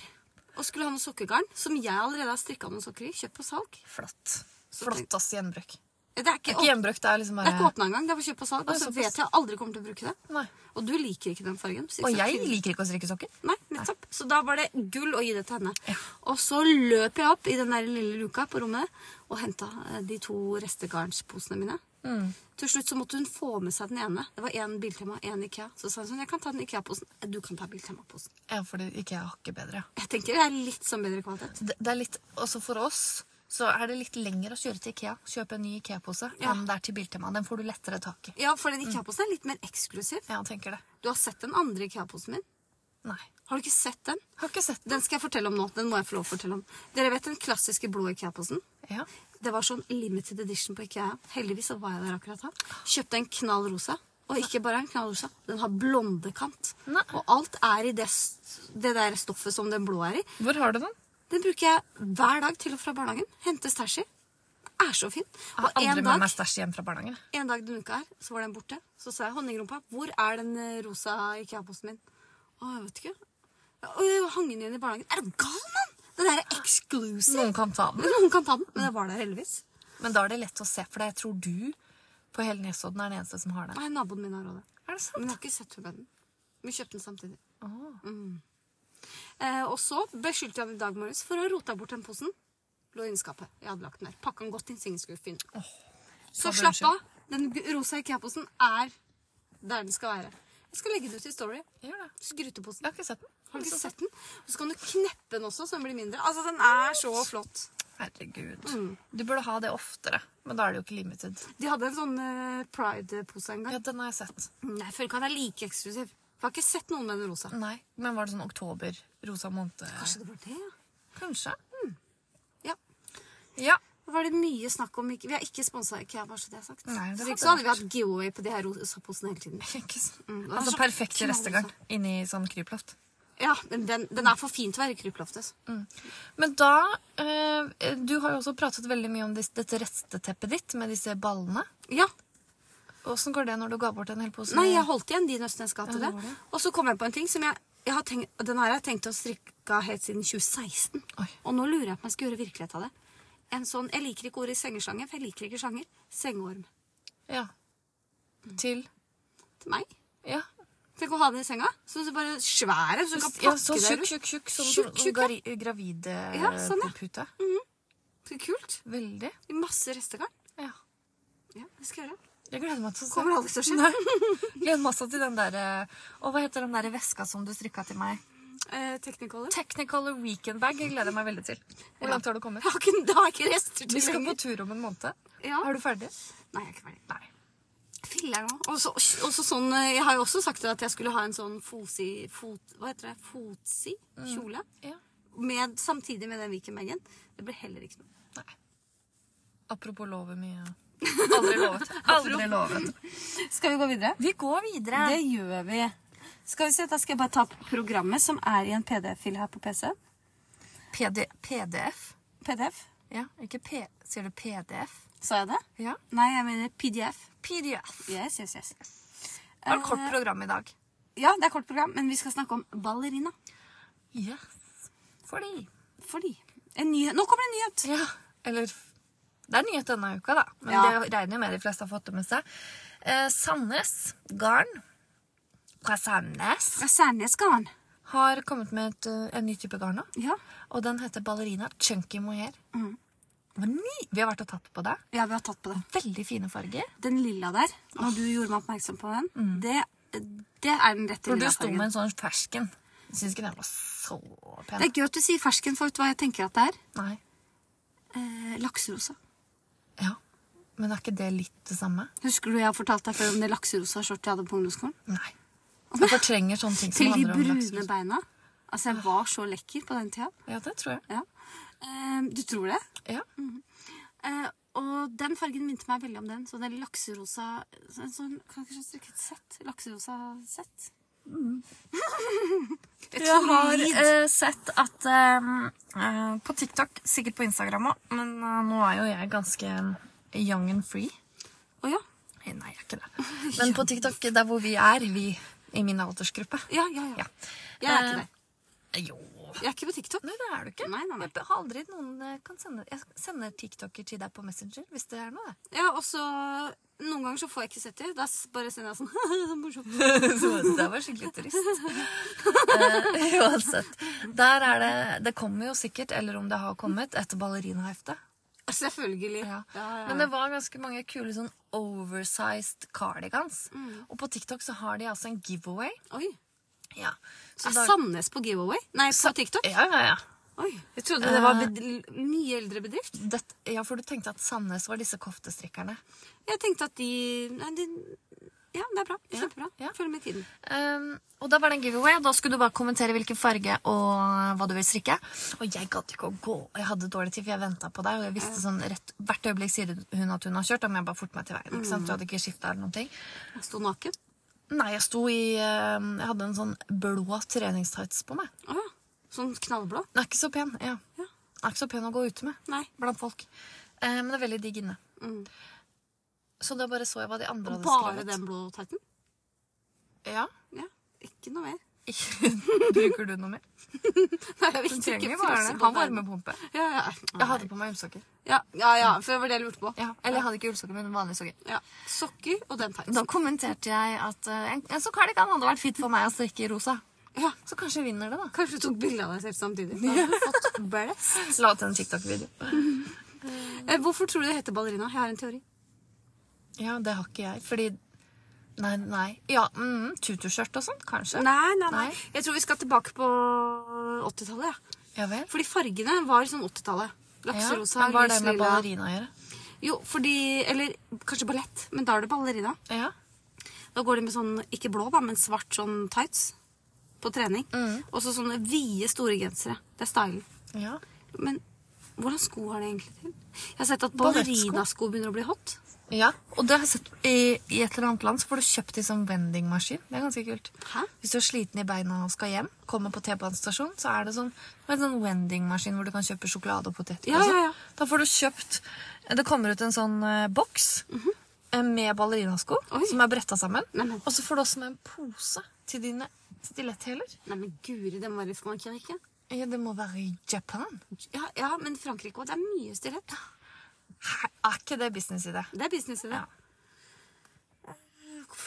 S2: og skulle ha noe sokkegarn som jeg allerede har strikka noen sokker i. Kjøpt på salg. Eh,
S1: Flott. Flott, ass, gjenbruk.
S2: Det er ikke,
S1: Ikke
S2: åp-
S1: gjenbruk, det er liksom
S2: det er ikke
S1: bare
S2: åpna engang. Det er på kjøpt på salg. Og
S1: Oi,
S2: så
S1: såpass.
S2: vet jeg aldri kommer til å bruke det.
S1: Nei.
S2: Og du liker ikke den fargen. så
S1: Og
S2: ikke sant,
S1: jeg
S2: fint.
S1: liker ikke å strikke sokker.
S2: Nei, nettopp. Så da var det gull å gi det til henne. Og så løp jeg opp i den der lille luka på rommet og henta de to restegarnsposene mine. Til slutt så måtte hun få med seg den ene. Det var én Biltema, én Ikea. Så sa hun sånn, jeg kan ta den Ikea-posen. Du kan ta Biltema-posen.
S1: Ja, fordi ikke jeg har ikke bedre. ja.
S2: Jeg tenker det er litt sånn bedre kvalitet.
S1: Det, det er litt, også for oss så er det litt lenger å kjøre til Ikea. Kjøpe en ny Ikea-pose
S2: Ja.
S1: enn det er til Biltema. Den får du lettere tak i.
S2: Ja, for den Ikea-posen er litt mer eksklusiv.
S1: Ja, tenker det.
S2: Du har sett den andre Ikea-posen min.
S1: Nei.
S2: Har du ikke sett den?
S1: Har ikke sett den.
S2: Den skal jeg fortelle om nå. Den må jeg få lov å fortelle om. Dere vet den klassiske blå Ikea-posen?
S1: Ja.
S2: Det var sånn limited edition på IKEA. Heldigvis så var jeg der akkurat da. Kjøpte en knall rosa. Og ikke bare en knall rosa, den har blondekant.
S1: Nei.
S2: Og alt er i det, s- det der stoffet som den blå er i.
S1: Hvor har du den?
S2: Den bruker jeg hver dag til og fra barnehagen. Henter stæsj i. Den er så fin.
S1: Jeg
S2: Og
S1: har
S2: en
S1: aldri med
S2: dag,
S1: meg stæsj hjem fra barnehagen.
S2: en dag denne uka her, så var den borte. Så sa jeg, honningrumpa, hvor er den eh, rosa IKEA-posten min? Å, jeg vet ikke. Og jeg hang den igjen i barnehagen. Er du gal, mann? Den der er exclusive.
S1: Noen kan ta den.
S2: Noen kan ta den, men den var der heldigvis.
S1: Men da er det lett å se, for jeg tror du på hele Nesodden er den eneste som har den.
S2: Nei, naboen min har råd det.
S1: Er det sant?
S2: Men jeg har ikke sett turbanden. Vi kjøpte den samtidig. Ah. Mm. Eh, og så beskyldte jeg han i dag morges for å ha rota bort den posen. Lå inni skapet. Jeg hadde lagt den der. Pakka den godt inn så ingen skulle finne den. så
S1: hadde
S2: slapp
S1: du
S2: av. Den gu- rosa IKEA-posen er der den skal være. Jeg skal legge den ut i Story.
S1: Gjør det.
S2: Skryteposen.
S1: Jeg har ikke sett den.
S2: Har du ikke sett den? Og så kan du kneppe den også, så den blir mindre. Altså, den er så flott.
S1: Herregud. Du burde ha det oftere, men da er det jo ikke limited.
S2: De hadde en sånn eh, pride-pose en gang.
S1: Ja, den har jeg sett.
S2: Nei, jeg føler ikke han er like eksklusiv. For jeg har ikke sett noen med den rosa.
S1: Nei, men var det sånn oktober, rosa måned?
S2: Kanskje det var det, ja.
S1: Kanskje.
S2: ja.
S1: Ja.
S2: var det mye snakk om ikke- Vi har ikke sponsa IKEA, bare så det er sagt.
S1: Nei, det
S2: Hvis
S1: hadde
S2: ikke så hadde vi
S1: vært.
S2: hatt giveaway på de her rosaposene hele tiden.
S1: Ikke sant?
S2: Mm, det var
S1: altså
S2: så
S1: perfekt
S2: knall,
S1: restegarn
S2: altså.
S1: inni sånn kryploft.
S2: Ja, men den, den er for fin til å være i krypeloftet.
S1: Men da eh, Du har jo også pratet veldig mye om dis- dette resteteppet ditt med disse ballene.
S2: Ja.
S1: Åssen går det når du ga bort en hel pose?
S2: Nei, jeg holdt igjen de nøstene jeg skal ha til
S1: Ja,
S2: det.
S1: det var det.
S2: Og så kom jeg på en ting som jeg, jeg har tenkt, Den her har jeg tenkt å strikke helt siden 2016.
S1: Oi.
S2: Og nå lurer jeg på om jeg skal gjøre virkelighet av det. En sånn, Jeg liker ikke ordet sengesjanger, for jeg liker ikke sjanger. Sengeorm.
S1: Ja.
S2: Mm.
S1: Til
S2: Til meg.
S1: Ja.
S2: Tenk å ha den i senga. Så det er bare svære, så du kan pakke
S1: ja sånn
S2: deg
S1: tjukk,
S2: rundt.
S1: tjukk, tjukk. Sånn,
S2: Tjukk,
S1: sånn,
S2: tjukk, ja.
S1: gari- gravide
S2: Ja, sånn, ja.
S1: pute.
S2: Så Kult.
S1: Veldig.
S2: Masse restegarn.
S1: Ja.
S2: Ja, det skal jeg gjøre.
S1: Jeg gleder meg til å se.
S2: Kommer aldri til å skje.
S1: Gleder meg også til den der eh, Å, hva heter den der veska som du strikka til meg?
S2: Eh, Technicolor.
S1: Technicolor Weekend Bag. Jeg gleder meg veldig til. Hvor langt har du kommet?
S2: Jeg har ikke, det har jeg ikke rester
S1: Vi
S2: til
S1: skal på
S2: lenger.
S1: tur om en måned.
S2: Ja.
S1: Er du ferdig?
S2: Nei, jeg er ikke ferdig.
S1: Nei.
S2: Filler nå. Og så og så sånn eh, Jeg har jo også sagt til deg at jeg skulle ha en sånn fosi... Fot, hva heter det? Fotsi? Kjole?
S1: Ja.
S2: Med, samtidig med den Viken-bagen. Det ble heller ikke noe.
S1: Nei. Apropos love mye. Aldri lovet. Aldri lovet.
S2: Skal vi gå videre?
S1: Vi går videre.
S2: Det gjør vi. Skal vi se, Da skal jeg bare ta opp programmet som er i en PDF-fil her på PC.
S1: PD, PDF?
S2: PDF?
S1: Ja, ikke P... Sier du PDF?
S2: Sa jeg det?
S1: Ja.
S2: Nei, jeg mener PDF.
S1: PDF.
S2: Yes, yes, yes.
S1: Det var et kort program i dag.
S2: Ja, det er kort program, men vi skal snakke om ballerina.
S1: Yes. Fordi
S2: Fordi en nyhet. Nå kommer det en nyhet!
S1: Ja, eller Det er nyhet denne uka, da. Men
S2: Ja.
S1: det regner jo med de fleste har fått det med seg. Eh, Sandnes Garn fra Sandnes
S2: Fra Særnesgarden.
S1: har kommet med et, eh, en ny type garn nå.
S2: Ja.
S1: Og den heter ballerina chunky mohair.
S2: Mm.
S1: Hva ny- Vi har vært og tatt på det.
S2: ja, vi har tatt på det.
S1: Veldig fine farger.
S2: Den lilla der, når du gjorde meg oppmerksom på den, det, det er den rette
S1: Når Mm. du
S2: lilla
S1: sto
S2: fargen.
S1: med en sånn fersken. Jeg syns ikke den var så
S2: Det
S1: pen.
S2: er gøy at du sier fersken, for vet du hva jeg tenker at det er?
S1: Nei.
S2: Eh, lakserosa.
S1: Ja. Men er ikke det litt det samme?
S2: Husker du jeg har fortalt deg før om det lakserosa skjørtet jeg hadde på ungdomsskolen?
S1: Nei. Jeg fortrenger sånne ting som
S2: Til de
S1: handler om
S2: brune
S1: lakselus.
S2: beina. Altså, jeg var så lekker på den tida.
S1: Ja, det tror jeg.
S2: Ja. Eh, du tror det?
S1: Ja.
S2: Eh, Og den fargen minte meg veldig om den. Sånn der lakserosa sånn, sånn, Kan jeg kanskje strekke et sett? Lakserosa sett?
S1: Mm. Jeg har eh, sett at eh, eh, På TikTok, sikkert på Instagram òg, men eh, nå er jo jeg ganske eh, young and free.
S2: Å ja.
S1: Nei, jeg er ikke det. Men på TikTok, der hvor vi er, vi i min aldersgruppe
S2: Ja, ja, ja.
S1: Ja.
S2: Jeg er ikke
S1: Eh,
S2: der.
S1: Jo.
S2: Jeg er ikke på TikTok.
S1: Nei, det er du ikke.
S2: Nei, nei, nei.
S1: Jeg har aldri noen eh, kan sende Jeg sender TikToker til deg på Messenger hvis det er noe. det.
S2: Ja, og så Noen ganger så får jeg ikke sett dem. Da s- bare sender jeg sånn så morsomt.
S1: Så det var skikkelig trist. Eh, uansett. Der er det Det kommer jo sikkert, eller om det har kommet, et ballerinahefte.
S2: Selvfølgelig.
S1: Ja.
S2: Ja, ja.
S1: Men det var ganske mange kule sånn oversized cardigans.
S2: Mm.
S1: Og på TikTok så har de altså en giveaway.
S2: Oi.
S1: Ja. Så
S2: Er
S1: da-
S2: Sandnes på giveaway? Nei, på TikTok?
S1: Ja, ja, ja.
S2: Oi. Jeg trodde det var bed mye eldre bedrift.
S1: Dette, ja, for du tenkte at Sandnes var disse koftestrikkerne.
S2: Jeg tenkte at de Nei, de Ja, det er bra. Det er Kjempebra.
S1: ja.
S2: Følg med i tiden.
S1: Um, og da var det en giveaway, og da skulle du bare kommentere hvilken farge og hva du vil strikke. Og jeg gadd ikke å gå, og jeg hadde dårlig tid, for jeg venta på deg. Og jeg visste sånn rett, Hvert øyeblikk sier hun at hun har kjørt, da må jeg bare forte meg til veien. ikke
S2: Mm.
S1: sant? Du hadde ikke skiftet eller noen ting.
S2: Jeg Sto naken.
S1: Nei, jeg sto i um, Jeg hadde en sånn blå treningstights på meg.
S2: Å ja. Sånn knallblå.
S1: Den er ikke så pen. ja.
S2: Ja.
S1: Den er ikke så pen å gå ute med
S2: Nei.
S1: blant folk. Eh, men det er veldig digg inne.
S2: Mm.
S1: Så da bare så jeg hva de andre hadde
S2: Bare
S1: skrevet.
S2: den blå tighten?
S1: Ja.
S2: Ja. Ikke noe mer.
S1: Bruker du noe mer?
S2: Nei, jeg
S1: Du
S2: vil
S1: trenger
S2: ikke
S1: jo bare
S2: frosse
S1: det.
S2: på
S1: Ha
S2: verden.
S1: varmepumpe.
S2: Ja, ja.
S1: Jeg hadde på meg ullsokker.
S2: ja, ja, ja, for det var det jeg lurte på.
S1: Ja, eller jeg hadde ikke ullsokker, men vanlige sokker.
S2: Ja. Sokker og den tighten.
S1: Da kommenterte jeg at eh, en, en sånn cardigan hadde vært fint for meg å strikke i rosa.
S2: Ja.
S1: Så kanskje jeg vinner det, da.
S2: Kanskje du tok bilde av deg selv samtidig. Da hadde du fått blest.
S1: La ut en TikTok-video.
S2: Eh, Hvorfor tror du det heter ballerina? Jeg har en teori.
S1: Ja, det har ikke jeg, fordi Nei, nei. Ja, mm, tutuskjørt og sånt, kanskje.
S2: Nei, nei, nei.
S1: Nei.
S2: Jeg tror vi skal tilbake på 80-tallet. Ja.
S1: Ja vel.
S2: Fordi fargene var sånn 80-tallet.
S1: Ja,
S2: Lakserosa,
S1: men hva har det
S2: lys
S1: med
S2: lilla.
S1: ballerina å gjøre?
S2: Jo, fordi Eller kanskje ballett, men da er det ballerina.
S1: Ja.
S2: Da går de med sånn, ikke blå, da, men svart sånn tights på trening.
S1: Mm.
S2: Og så sånne vide, store gensere. Det er stylen.
S1: ja.
S2: Men hvordan sko har det egentlig til? Jeg har sett at
S1: Ballettsko.
S2: ballerinasko begynner å bli hot.
S1: Ja, og det har jeg sett i, i et eller annet land så får du kjøpt i sånn vendingmaskin. Det er ganske kult.
S2: Hæ?
S1: Hvis du er sliten i beina og skal hjem, kommer på T-banestasjonen, så er det sånn, en sånn vendingmaskin hvor du kan kjøpe sjokolade og poteter.
S2: Ja,
S1: og sånn.
S2: ja, ja.
S1: Da får du kjøpt Det kommer ut en sånn eh, boks eh, med ballerinasko
S2: Oi.
S1: som er bretta sammen.
S2: Neimen.
S1: Og så får du også med en pose til dine stiletthæler.
S2: Nei, men guri, det må være i Frankrike.
S1: Ja, det må være i Japan.
S2: Ja, ja men Frankrike òg. Det er mye stilett.
S1: Hæ? Er ikke det businessidé?
S2: Det er business i det. Eh,
S1: Ja.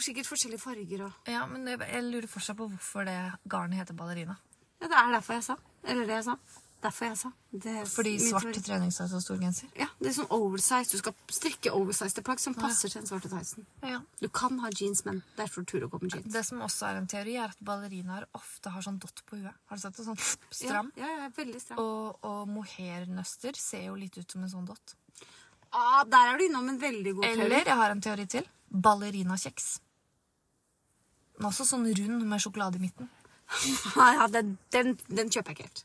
S2: Sikkert forskjellige farger og
S1: Ja, men jeg, jeg lurer fortsatt på hvorfor det garnet heter ballerina.
S2: Ja, det er derfor jeg sa. Eller det jeg sa. Derfor jeg sa. Det er
S1: Fordi
S2: min
S1: svart
S2: teori.
S1: treningstøy og stor genser.
S2: Ja, det er sånn oversize. Du skal strikke oversizede plagg som passer til den svarte tightsen.
S1: Ja.
S2: Du kan ha jeans, men det er for tur å gå med jeans.
S1: Det som også er en teori, er at ballerinaer ofte har sånn dott på huet. Har du sett det? Sånn stram.
S2: Ja, ja, ja veldig stram.
S1: Og, og mohairnøster ser jo litt ut som en sånn dott.
S2: Ah, der er du innom en veldig god teori.
S1: Eller jeg har en teori til. Ballerinakjeks. Men også sånn rund med sjokolade i midten.
S2: Nei, ja, den, den, den kjøper jeg ikke helt.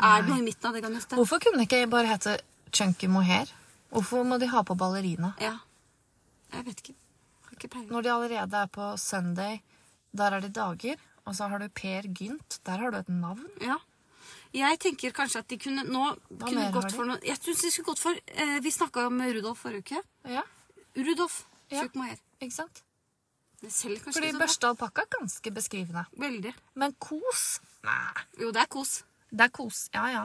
S2: Er det noe i midten av det kan neste?
S1: Hvorfor kunne det ikke bare hete chunky mohair? Hvorfor må de ha på ballerina?
S2: Ja. Jeg vet ikke. Har ikke peiling.
S1: Når de allerede er på Sunday, der er det dager. Og så har du Per Gynt. Der har du et navn.
S2: Ja. Jeg tenker kanskje at de kunne nå kunne
S1: mer har
S2: gått
S1: de?
S2: for noe Jeg synes de skulle gått for eh, Vi snakka om Rudolf forrige uke.
S1: Ja,
S2: Rudolf.
S1: Ja.
S2: Tjukk mohair.
S1: ikke sant?
S2: Det selger kanskje
S1: Fordi
S2: ikke så bra.
S1: børsta alpakka er ganske beskrivende.
S2: Veldig.
S1: Men kos? Nei.
S2: Jo, det er kos.
S1: Det er kos. Ja, ja.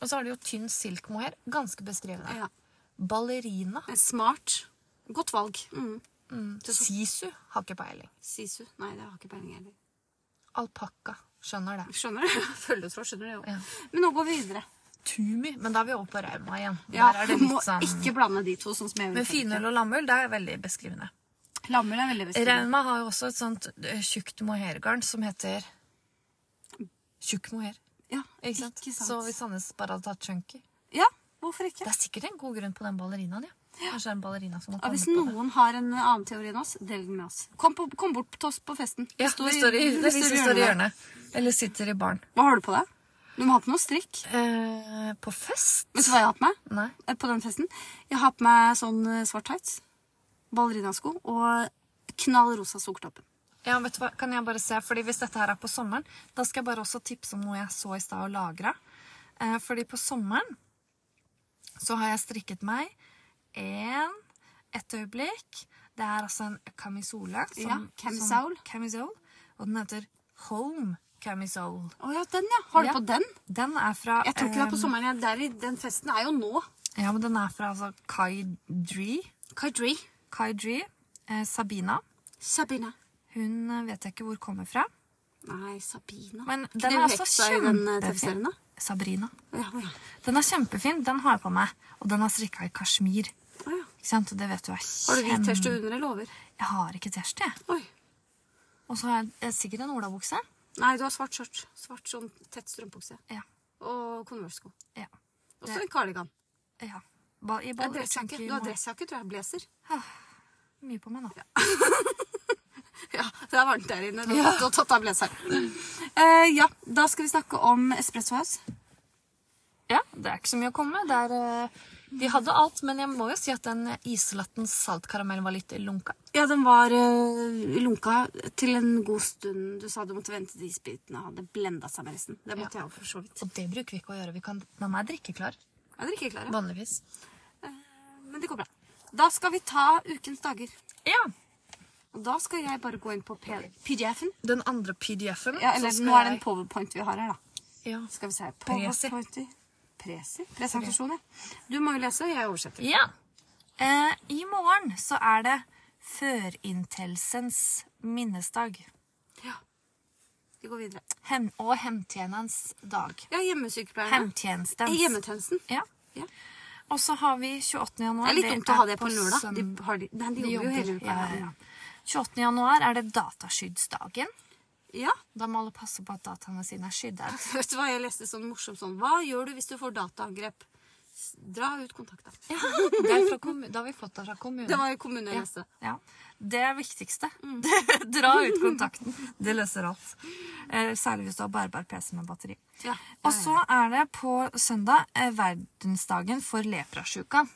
S1: Og så har de jo tynn silkmohair. Ganske beskrivende.
S2: Ja.
S1: Ballerina.
S2: Det er Smart. Godt valg. Mm.
S1: Mm. Sisu har ikke peiling.
S2: Sisu. Nei, det har jeg ikke peiling heller.
S1: Alpakka. Skjønner det.
S2: Skjønner det. Følgetråd skjønner det jo.
S1: Ja.
S2: Men nå går vi videre.
S1: Tumi. Men da er vi over på Rauma igjen.
S2: Ja,
S1: Der er det
S2: må
S1: litt sånn
S2: ikke blande de to sånn som jeg
S1: Men
S2: gjorde.
S1: finøl og lammøl, det er veldig beskrivende.
S2: Lammel er veldig bestemt.
S1: Rauma har jo også et sånt eh, tjukt mohairgarn som heter Tjukk mohair.
S2: Ja,
S1: Ikke sant? Så vi Sandnes bare hadde tatt chunky.
S2: Ja, hvorfor ikke?
S1: Det er sikkert en god grunn på den ballerinaen, ja. Kanskje det er en ballerina som har
S2: Ja,
S1: kommet
S2: hvis
S1: på det.
S2: noen har en annen teori enn oss, del den med oss. Kom, på, kom bort til oss på festen.
S1: Ja, vi står i, det er vi som står i hjørnet. Eller sitter i baren.
S2: Hva har du på deg? Du må ha på noe strikk.
S1: Eh, på fest?
S2: Vet du hva jeg har på meg?
S1: Nei.
S2: Eh, På den festen? Jeg har på meg sånn eh, svart tights, ballerinasko og knall rosa sukkertoppen.
S1: Ja, vet du hva? Kan jeg bare se, fordi Hvis dette her er på sommeren, da skal jeg bare også tipse om noe jeg så i stad og lagra. Eh, fordi på sommeren så har jeg strikket meg en Et øyeblikk. Det er altså en camisole. som-
S2: Ja, camisole.
S1: som- camisole. Og den heter Home Camisole.
S2: Å ja, den, ja. Har du
S1: Ja.
S2: på den?
S1: Den er fra
S2: Jeg tror ikke det er på
S1: eh,
S2: sommeren. jeg- Det er i, den festen er jo nå.
S1: Ja, men den er fra altså, Kai Dree.
S2: Kadri.
S1: Kai Dree. Eh, Sabina.
S2: Sabina.
S1: Hun eh, vet jeg ikke hvor kommer fra.
S2: Nei, Sabina.
S1: Men den
S2: Knull
S1: er altså
S2: heksa i den eh,
S1: kjempefin.
S2: TV-serien, da?
S1: Sabrina.
S2: Å ja, å ja.
S1: Den er kjempefin. Den har jeg på meg. Og den er strikka i kasjmir.
S2: Å ja.
S1: Ikke sant? Og det vet du er kjem...
S2: Har du hvit T-skjorte under eller over?
S1: Jeg har ikke T-skjorte, jeg.
S2: Oi.
S1: Og så har jeg eh, sikkert en olabukse.
S2: Nei, du har svart skjørt. Svart sånn tett strømpukse.
S1: Ja.
S2: Og Converse-sko.
S1: ja.
S2: Og så en kardigan.
S1: ja. Ba, i
S2: Nei,
S1: ball,
S2: dressjakke.
S1: tenker
S2: Du har
S1: må-
S2: dressjakke, tror jeg. Blazer.
S1: Mye på meg nå.
S2: Ja, det er varmt der inne. Du
S1: Ja.
S2: har tatt- du har tatt av blazeren. Eh, ja, da skal vi snakke om Espresso House.
S1: Ja, det er ikke så mye å komme med. Det er, eh, De hadde alt, men jeg må jo si at den islatten saltkaramellen var litt lunka.
S2: Ja, den var eh, lunka til en god stund. Du sa du måtte vente til isbitene hadde blenda seg med resten. Det måtte jeg også for så vidt.
S1: Og det bruker vi ikke å gjøre. Vi kan, den er drikkeklar.
S2: Ja, dere er ikke klare.
S1: Vanligvis.
S2: Men det går bra. Da skal vi ta ukens dager.
S1: Ja.
S2: Og da skal jeg bare gå inn på P- PDF-en.
S1: Den andre PDF-en.
S2: Ja, eller
S1: så skal
S2: nå er det en
S1: jeg-
S2: powerpoint vi har her, da.
S1: Ja.
S2: Skal vi se.
S1: Presi.
S2: Powerpoint i- Presi? Presentasjon, ja. Du må jo lese, og jeg oversetter.
S1: Ja. Eh, I morgen så er det førinntelsens minnesdag.
S2: Vi går videre.
S1: Hem og hemtjenens dag.
S2: Ja, hjemmesykepleierne.
S1: Hemtjenestens.
S2: Eh, Hjemmetjenesten.
S1: Ja.
S2: Ja.
S1: Og så har vi 28. januar.
S2: Det er litt dumt å ha det på en lørdag. De,
S1: søn-
S2: har de, nei, de,
S1: De
S2: jobber jo hele uka.
S1: jobber, ja, ja. 28. januar er det dataskyddsdagen.
S2: ja.
S1: Da må alle passe på at dataene sine er skyddet.
S2: Vet du hva jeg leste sånn morsomt sånn? Hva gjør du hvis du får dataangrep? S- Dra ut kontakta.
S1: Det er fra kommu- da har vi fått det fra kommunen.
S2: Det Mm. var i kommunen jeg leste.
S1: Ja, Det er viktigste. Dra ut kontakten. Det løser alt. Eh, Særlig hvis du har bærbar PC med batteri.
S2: Ja.
S1: Og så er det på søndag eh, verdensdagen for leprasjuka.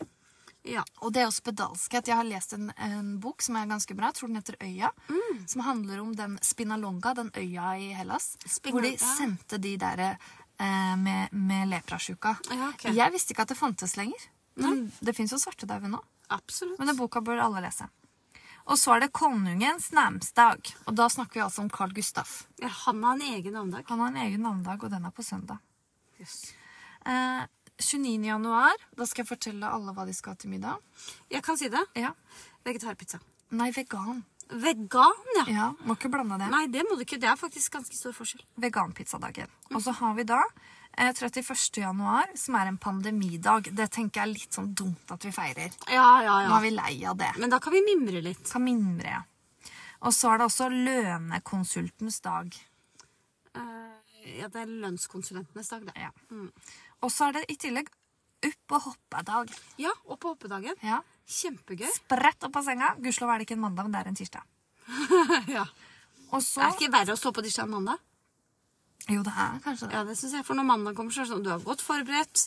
S2: Ja.
S1: Og det er jo spedalskhet. Jeg har lest en, en bok som er ganske bra, jeg tror den heter Øya,
S2: Mm.
S1: som handler om den spinalonga, den øya i Hellas, hvor de
S2: Spinalonga.
S1: sendte de der eh, med, med leprasjuka.
S2: Ja, ok.
S1: Jeg visste ikke at det fantes lenger. Men det fins jo svartedauden nå.
S2: Absolutt.
S1: Men den boka bør alle lese. Og så er det konungens namnsdag. Og da snakker vi altså om Carl Gustaf.
S2: Ja, Han har en egen navnedag.
S1: Han har en egen navnedag, og den er på søndag.
S2: Yes.
S1: Eh, 29. januar, da skal jeg fortelle alle hva de skal ha til middag.
S2: Jeg kan si det.
S1: Ja.
S2: Vegetarpizza.
S1: Nei, vegan.
S2: Vegan, ja.
S1: Ja, Må ikke blande det.
S2: Nei, det må du ikke. Det er faktisk ganske stor forskjell.
S1: Veganpizzadagen. Og så har vi da eh, 31. januar, som er en pandemidag. Det tenker jeg er litt sånn dumt at vi feirer.
S2: Ja, ja,
S1: Nå er vi lei av det.
S2: Men da kan vi mimre litt.
S1: Kan mimre. Og så er det også lønekonsultens dag.
S2: Eh, ja, det er lønnskonsulentenes dag, det.
S1: Ja. Og så er det i tillegg opp og hoppe-dag.
S2: Ja, og på hoppedagen.
S1: Ja.
S2: Kjempegøy.
S1: Sprett opp av senga. Gudskjelov er det ikke en mandag, men det er en tirsdag.
S2: ja.
S1: Og
S2: Det
S1: så
S2: er ikke verre å stå på tirsdag enn mandag.
S1: Jo, det er kanskje det.
S2: Ja, det synes jeg. For når mandag kommer, så er det sånn du er godt forberedt.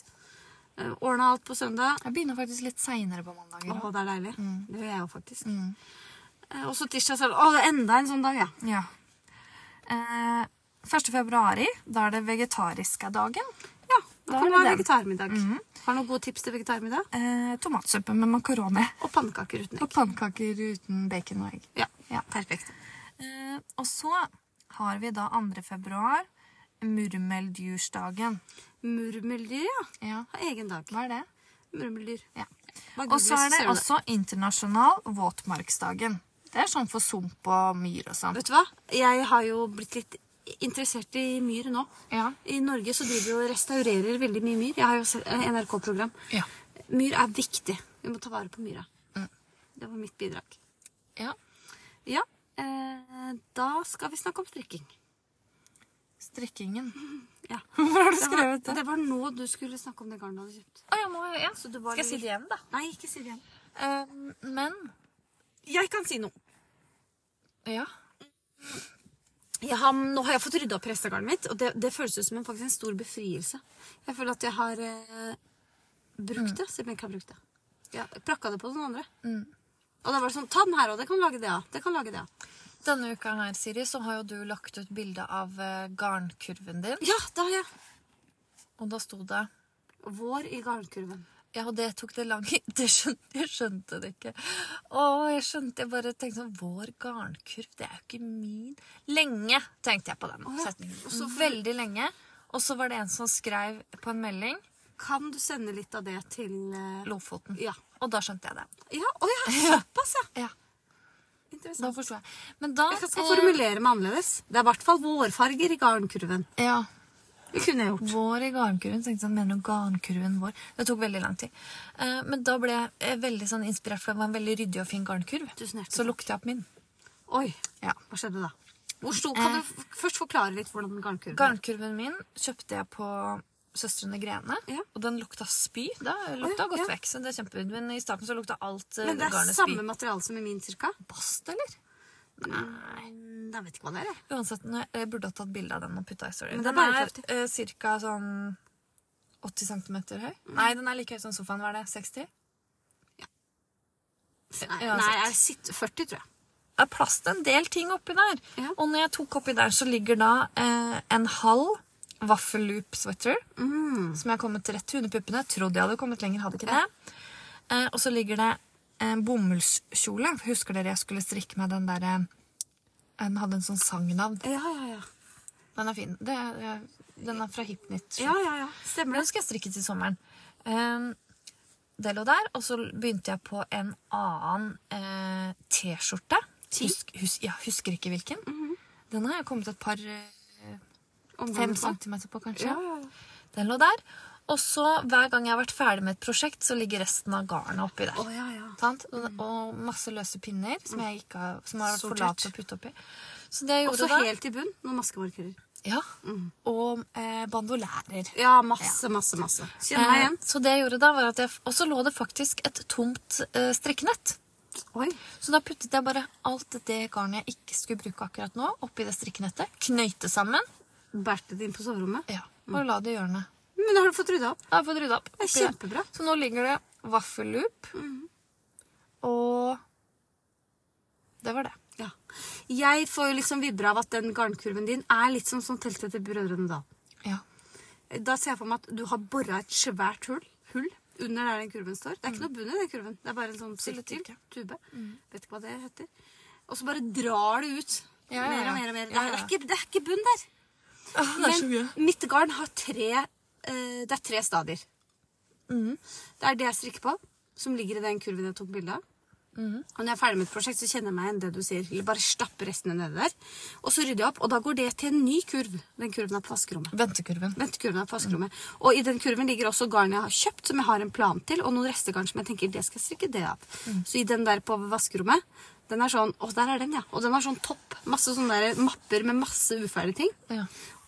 S2: eh, Ordna alt på søndag.
S1: Jeg begynner faktisk litt seinere på mandager.
S2: Å,
S1: også.
S2: det er deilig. Det gjør jeg jo faktisk. Eh, Og så tirsdag så er det Å, det er enda en sånn dag, ja.
S1: Ja. Eh, 1. februari, da er det vegetariske dagen.
S2: Ja, Da
S1: Da
S2: kan
S1: er
S2: du ha
S1: det den.
S2: vegetarmiddag. Har du noen gode tips til vegetarmiddag?
S1: Eh, tomatsuppe med makaroni.
S2: Og pannekaker uten
S1: Og
S2: egg.
S1: pannekaker uten bacon og egg.
S2: Ja.
S1: Ja.
S2: Perfekt.
S1: Eh, og så har vi da 2. februar, murmeldyrsdagen.
S2: Murmeldyr, ja.
S1: Ja.
S2: Har egen dag.
S1: Hva er det?
S2: Murmeldyr.
S1: Ja.
S2: Bare
S1: Og så
S2: googles,
S1: er det
S2: ser du
S1: også internasjonal våtmarksdagen. Det er sånn for sump og myr og sånn.
S2: Vet du hva? Jeg har jo blitt litt interessert i myr nå.
S1: Ja.
S2: I Norge så driver vi og restaurerer veldig mye myr. Jeg har jo sett eh, NRK-program.
S1: Ja.
S2: Myr er viktig. Vi må ta vare på myra. Det var mitt bidrag.
S1: ja.
S2: Ja, eh, da skal vi snakke om strikking.
S1: Strikkingen.
S2: Ja.
S1: Hvor har du
S2: Det var,
S1: skrevet det?
S2: det var nå du skulle snakke om det garnet du hadde kjøpt.
S1: Å, ja, må jeg, ja.
S2: Så du var litt-
S1: igjen, da?
S2: Nei, ikke si det igjen.
S1: Eh, men
S2: Jeg kan si noe.
S1: Ja.
S2: jeg har, nå har jeg fått rydda opp i restegarnet mitt, og det, det føles ut som en, faktisk en stor befrielse. Jeg føler at jeg har eh, brukt det, selv om jeg ikke har brukt det. Jeg prakka det på noen andre. Og da var det sånn Ta den her òg, det kan lage det av. Det kan lage det av.
S1: Denne uka her, Siri, så har jo du lagt ut bilde av eh, garnkurven din.
S2: Ja, det har jeg.
S1: Og da sto det
S2: Vår i garnkurven.
S1: Ja, og det tok det lang det skjønte, Jeg skjønte det ikke. Å, jeg skjønte Jeg bare tenkte sånn Vår garnkurv, det er jo ikke min Lenge tenkte jeg på den
S2: ja.
S1: setningen.
S2: Og så-
S1: Veldig lenge. Og så var det en som skrev på en melding
S2: Kan du sende litt av det til eh,
S1: Lofoten.
S2: Ja.
S1: Og da skjønte jeg det.
S2: Ja, å ja, såpass, ja.
S1: Ja, Da
S2: Interessant.
S1: forsto jeg. Men da
S2: Jeg skal
S1: eh,
S2: formulere meg annerledes. Det er i hvert fall vårfarger i garnkurven.
S1: Ja.
S2: Det kunne jeg gjort.
S1: Vår i garnkurven. tenkte jeg sånn, Mener du garnkurven vår? Det tok veldig lang tid. Eh, men da ble jeg eh, veldig sånn inspirert, for det var en veldig ryddig og fin garnkurv.
S2: Tusen hjertelig
S1: Så lukta jeg opp min.
S2: Oi,
S1: Ja.
S2: hva skjedde da? Hvor stor, kan du
S1: Eh.
S2: f- først forklare litt hvordan garnkurven er?
S1: Garnkurven min kjøpte jeg på Søstrene Grene.
S2: Ja.
S1: Og den lukta spy. Da
S2: Å,
S1: lukta
S2: ja,
S1: godt
S2: ja.
S1: vekk. så det er kjempe... Men i starten så lukta alt eh,
S2: Men det er
S1: garnet
S2: samme
S1: spy.
S2: materiale som i min cirka?
S1: Bast, eller?
S2: Nei. Jeg vet ikke hva det er. jeg.
S1: Uansett, nå- jeg burde ha tatt bilde av den og putta i story.
S2: Men det er
S1: Den er
S2: bærekraftig.
S1: eh, cirka sånn 80 cm høy.
S2: Mm.
S1: Nei, den er like høy som sofaen. Hva er det? 60?
S2: Nei,
S1: uansett.
S2: nei jeg sitter 40, tror jeg.
S1: Det er plass til en del ting oppi der.
S2: Ja.
S1: Og når jeg tok oppi der, så ligger da eh, en halv vaffelloop sweater.
S2: Mm.
S1: Som jeg har kommet rett til under puppene. Trodde jeg hadde kommet lenger, hadde ikke det. Eh, og så ligger det en bomullskjole. Husker dere jeg skulle strikke meg den derre Den hadde en sånn sangnavn.
S2: Ja, ja, ja.
S1: Den er fin. Det, er- eh, den er fra Hipnit.
S2: Ja, ja, ja. Stemmer
S1: Den
S2: det.
S1: skal jeg strikke til sommeren. Ehm, det lå der, og så begynte jeg på en annen eh, T-skjorte. Husk, hus, ja, husker ikke hvilken.
S2: Mhm.
S1: Den har jeg kommet et par eh, fem
S2: Omgang på.
S1: centimeter på, kanskje.
S2: Ja, ja, ja.
S1: Den lå der. Og så hver gang jeg har vært ferdig med et prosjekt, så ligger resten av garnet oppi der.
S2: Å, ja, ja.
S1: Sant?
S2: Mm.
S1: Og, og masse løse pinner som jeg ikke har, som har vært for
S2: Sortert.
S1: lat til å putte oppi. Så det jeg gjorde
S2: Også
S1: da
S2: helt Mm. i bunn noen maskemarkører.
S1: ja, Og eh, bandolærer.
S2: Ja, masse, masse, masse. Kjenn meg
S1: Eh,
S2: igjen.
S1: Så det jeg gjorde da var at jeg, Og så lå det faktisk et tomt eh, strikkenett.
S2: Oi.
S1: Så da puttet jeg bare alt det garnet jeg ikke skulle bruke akkurat nå, oppi det strikkenettet. Knøyte sammen.
S2: Bærte det inn på soverommet.
S1: Ja, og la det i hjørnet.
S2: Men har du fått rydda opp?
S1: Da har jeg fått rydda opp.
S2: Det er
S1: oppi
S2: kjempebra.
S1: Så nå ligger det vaffelloop og Det var det.
S2: Ja. Jeg får jo liksom vibra av at den garnkurven din er litt som, som teltet til Brødrene Dal.
S1: Ja.
S2: Da ser jeg for meg at du har bora et svært hull, hull under der den kurven står. Det er ikke noe bunn i den kurven. Det er bare en sånn
S1: Mm. Absolutt
S2: sirkel,
S1: ikke. Mm.
S2: tube. Vet ikke hva det heter. Og så bare drar det ut.
S1: Ja, ja,
S2: Mer
S1: ja.
S2: og mer og mer.
S1: Ja, ja.
S2: Det, er ikke, det er ikke bunn der. Men mitt garn har tre eh, Det er tre stadier.
S1: Mm.
S2: Det er det jeg strikker på, som ligger i den kurven jeg tok bilde av.
S1: Mm.
S2: Og når jeg er ferdig med et prosjekt, så kjenner jeg meg igjen det du sier. Eller bare stapper restene nedi der. Og så rydder jeg opp, og da går det til en ny kurv. Den kurven er på vaskerommet.
S1: Ventekurven.
S2: Ventekurven er på vaskerommet. Og i den kurven ligger også garn jeg har kjøpt, som jeg har en plan til, og noen restegarn som jeg tenker det skal jeg strikke det av. Så i den der på vaskerommet, den er sånn Å, der er den, ja. Og den har sånn topp. Masse sånne der mapper med masse uferdige ting.
S1: Ja.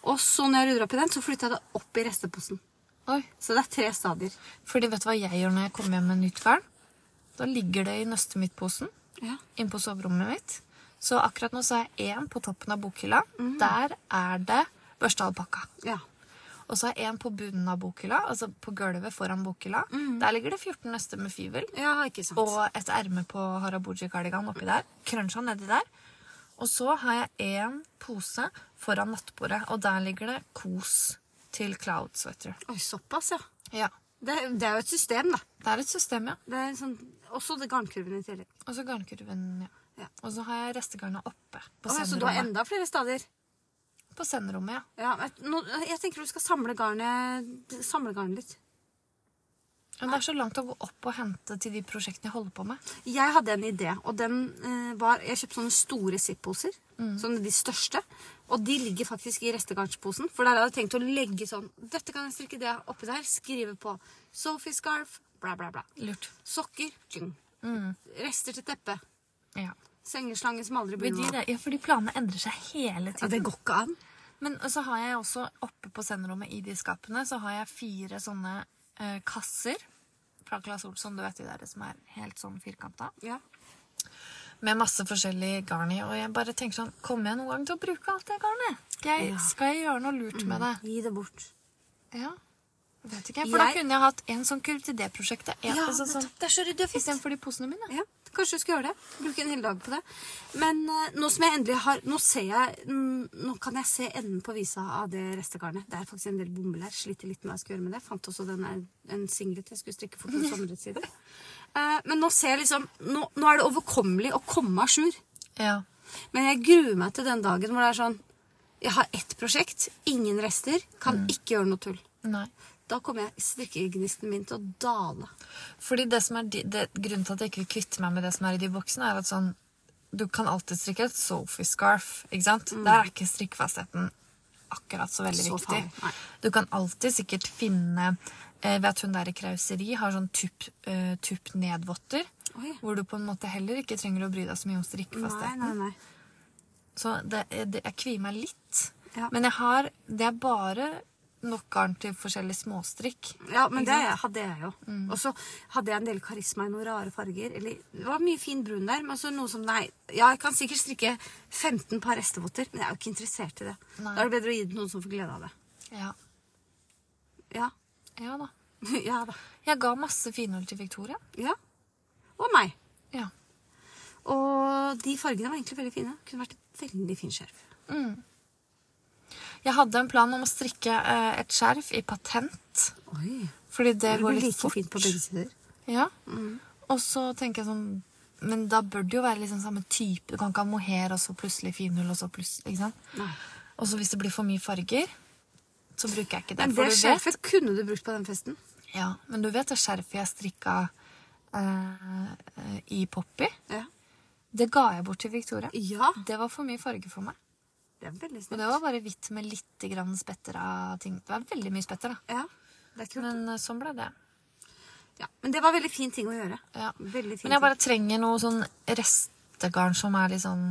S2: Og så når jeg rydder opp i den, så flytter jeg det opp i resteposen.
S1: Oi.
S2: Så det er tre stadier.
S1: Fordi vet du hva jeg gjør når jeg kommer hjem med nytt garn? Da ligger det i nøstet mitt-posen.
S2: Ja.
S1: inn på soverommet mitt. Så akkurat nå så har jeg én på toppen av bokhylla.
S2: Mhm.
S1: Der er det børstealpakka.
S2: ja.
S1: Og så har jeg én på bunnen av bokhylla, altså på gulvet foran bokhylla.
S2: Mhm.
S1: Der ligger det 14 nøster med fyvel
S2: ikke sant.
S1: og et erme på harabuji-kardigan oppi der. Krønsja nedi der. Og så har jeg én pose foran nattbordet, og der ligger det kos til cloud sweater.
S2: Oi, såpass, ja.
S1: Ja.
S2: Det, det er jo et system, da.
S1: Det er et system, ja.
S2: Det er sånn, også det garnkurven i tillegg.
S1: Og så garnkurven, ja.
S2: Ja.
S1: Og så har jeg restegarnet oppe på
S2: Å, ja, så du har
S1: senderommet.
S2: enda flere stadier?
S1: På senderommet, ja.
S2: Ja, vet- nå, jeg tenker du skal samle garnet, samle garnet litt.
S1: Men det er så langt å gå opp og hente til de prosjektene jeg holder på med.
S2: Jeg hadde en idé, og den eh, var Jeg kjøpte sånne store Zipp-poser.
S1: Mm.
S2: Sånne de største. Og de ligger faktisk i restegarnsposen. For der hadde jeg tenkt å legge sånn Dette kan jeg strikke det oppi der. Skrive på Sophie scarf. Bla, bla, bla.
S1: Lurt.
S2: Sokker. tjung.
S1: Mm.
S2: Rester til teppet.
S1: Ja.
S2: Sengeslange som aldri blir
S1: Fordi
S2: noe av.
S1: det, ja, fordi planene endrer seg hele
S2: Ja,
S1: tiden.
S2: det går ikke an.
S1: Men så har jeg også oppe på senderommet i de skapene så har jeg fire sånne eh, kasser fra Claes Olsson. Du vet de der som er helt sånn firkanta.
S2: Ja.
S1: med masse forskjellig garn i. Og jeg bare tenker sånn Kommer jeg noen gang til å bruke alt det garnet? Skal jeg,
S2: Ja.
S1: skal jeg gjøre noe lurt med det?
S2: Gi det bort.
S1: Ja. Vet ikke. Mm. jeg, For da
S2: Jeg-
S1: kunne jeg hatt en sånn kurv til det prosjektet. En,
S2: Ja,
S1: altså, sånn,
S2: nettopp. Det er så ryddig og fint.
S1: Istedenfor de posene mine.
S2: Ja, kanskje du skal gjøre det. Bruke en hel dag på det. Men eh, nå som jeg endelig har Nå ser jeg n- Nå kan jeg se enden på visa av det restegarnet. Det er faktisk en del bomber der. Sliter litt med hva jeg skal gjøre med det. Jeg fant også den der, en singlet jeg skulle strikke for to somre siden. Eh, Men nå ser jeg liksom nå, nå er det overkommelig å komme à jour.
S1: Ja.
S2: Men jeg gruer meg til den dagen hvor det er sånn Jeg har ett prosjekt, ingen rester, kan ikke gjøre noe tull.
S1: Nei.
S2: Da kommer jeg strikkegnisten min til å dale.
S1: Fordi det som er de, det, Grunnen til at jeg ikke vil kvitte meg med det som er i de boksene, er at sånn Du kan alltid strikke et Sophie-scarf. ikke sant? Der er ikke strikkfastheten akkurat så veldig
S2: Mm. Så
S1: viktig.
S2: farlig, nei.
S1: Du kan alltid sikkert finne eh, Ved at hun der i Krauseri har sånn tupp eh, tupp nedvotter.
S2: Oi.
S1: Hvor du på en måte heller ikke trenger å bry deg så mye om strikkfastheten.
S2: nei, nei.
S1: Så det, eh, det, jeg kvier meg litt.
S2: Ja.
S1: Men jeg har, det er bare nok garn til forskjellig småstrikk.
S2: Ja, men det hadde jeg jo.
S1: Mm.
S2: Og så hadde jeg en del karisma i noen rare farger. Eller, det var mye fin brun der, men så noe som Nei, ja, jeg kan sikkert strikke 15 par restevotter, men jeg er jo ikke interessert i det.
S1: Nei.
S2: Da er det bedre å gi det til noen som får glede av det.
S1: Ja.
S2: Ja.
S1: ja da.
S2: ja da.
S1: Jeg ga masse finhull til Victoria.
S2: Ja. Og meg.
S1: Ja.
S2: Og de fargene var egentlig veldig fine. Kunne vært et veldig fin skjerf.
S1: Jeg hadde en plan om å strikke eh, et skjerf i patent.
S2: Oi.
S1: Fordi det,
S2: Det
S1: går
S2: blir
S1: litt
S2: like
S1: fort.
S2: fint på Mm. begge sider.
S1: Ja. Og så tenker jeg sånn Men da bør det jo være liksom samme type. Du kan ikke ha mohair og så plutselig finhull og så plutselig ikke sant?
S2: Nei.
S1: Og så hvis det blir for mye farger, så bruker jeg ikke det.
S2: Men
S1: for
S2: det
S1: du vet-
S2: skjerfet kunne du brukt på den festen.
S1: Ja, men du vet det skjerfet jeg strikka eh, eh, i Poppy?
S2: Ja.
S1: Det ga jeg bort til Victoria.
S2: ja.
S1: Det var for mye farge for meg.
S2: Det er veldig
S1: Og
S2: snilt.
S1: det var bare hvitt med litt grann spetter av ting. Det var veldig mye spetter, da.
S2: Ja. Det er kult.
S1: Men eh, sånn ble det.
S2: Ja. Men det var veldig fin ting å gjøre.
S1: Ja.
S2: Veldig fin
S1: Men jeg bare trenger noe sånn restegarn som er litt sånn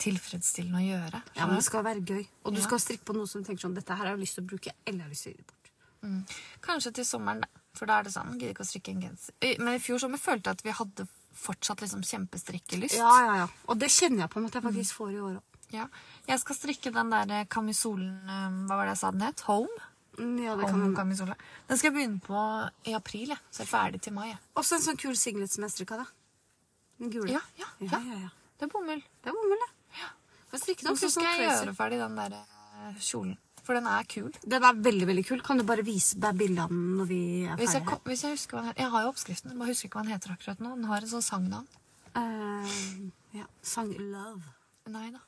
S1: tilfredsstillende å gjøre.
S2: Ja, men det skal være gøy. Og du
S1: Ja.
S2: skal strikke på noe som du tenker sånn Dette her har jeg lyst til å bruke, eller jeg har lyst til å gi det bort.
S1: Mm. Kanskje til sommeren, da. For da er det sånn. Gidder ikke å strikke en genser. I- Men i fjor sommer følte jeg at vi hadde fortsatt liksom kjempestrikkelyst.
S2: Ja, ja, ja. Og det kjenner jeg på en måte jeg
S1: Mm.
S2: faktisk får i år òg.
S1: Ja. Jeg skal strikke den der eh, kamisolen eh, Hva var det jeg sa den het? Home?
S2: Mm, Ja, det kan
S1: Home
S2: hende.
S1: kamisole. Den skal jeg begynne på i april, jeg. Så jeg er ferdig til mai. Jeg.
S2: Også en sånn kul singlet som jeg strikka, da. Den gule.
S1: Ja, ja, ja.
S2: ja, ja.
S1: Det er bomull.
S2: Det var mulig. Får strikke
S1: Og
S2: noe
S1: så
S2: sånn
S1: skal jeg
S2: crazy.
S1: gjøre ferdig den der eh, kjolen. For den er kul.
S2: Den er veldig, veldig kul. Kan du bare vise meg bildene når vi er
S1: Hvis jeg,
S2: ferdige?
S1: kom, hvis jeg husker hva den heter Jeg har jo oppskriften, jeg bare husker ikke hva den heter akkurat nå. Den har en sånn sangnavn.
S2: Eh, ja. Sang Love.
S1: Nei da.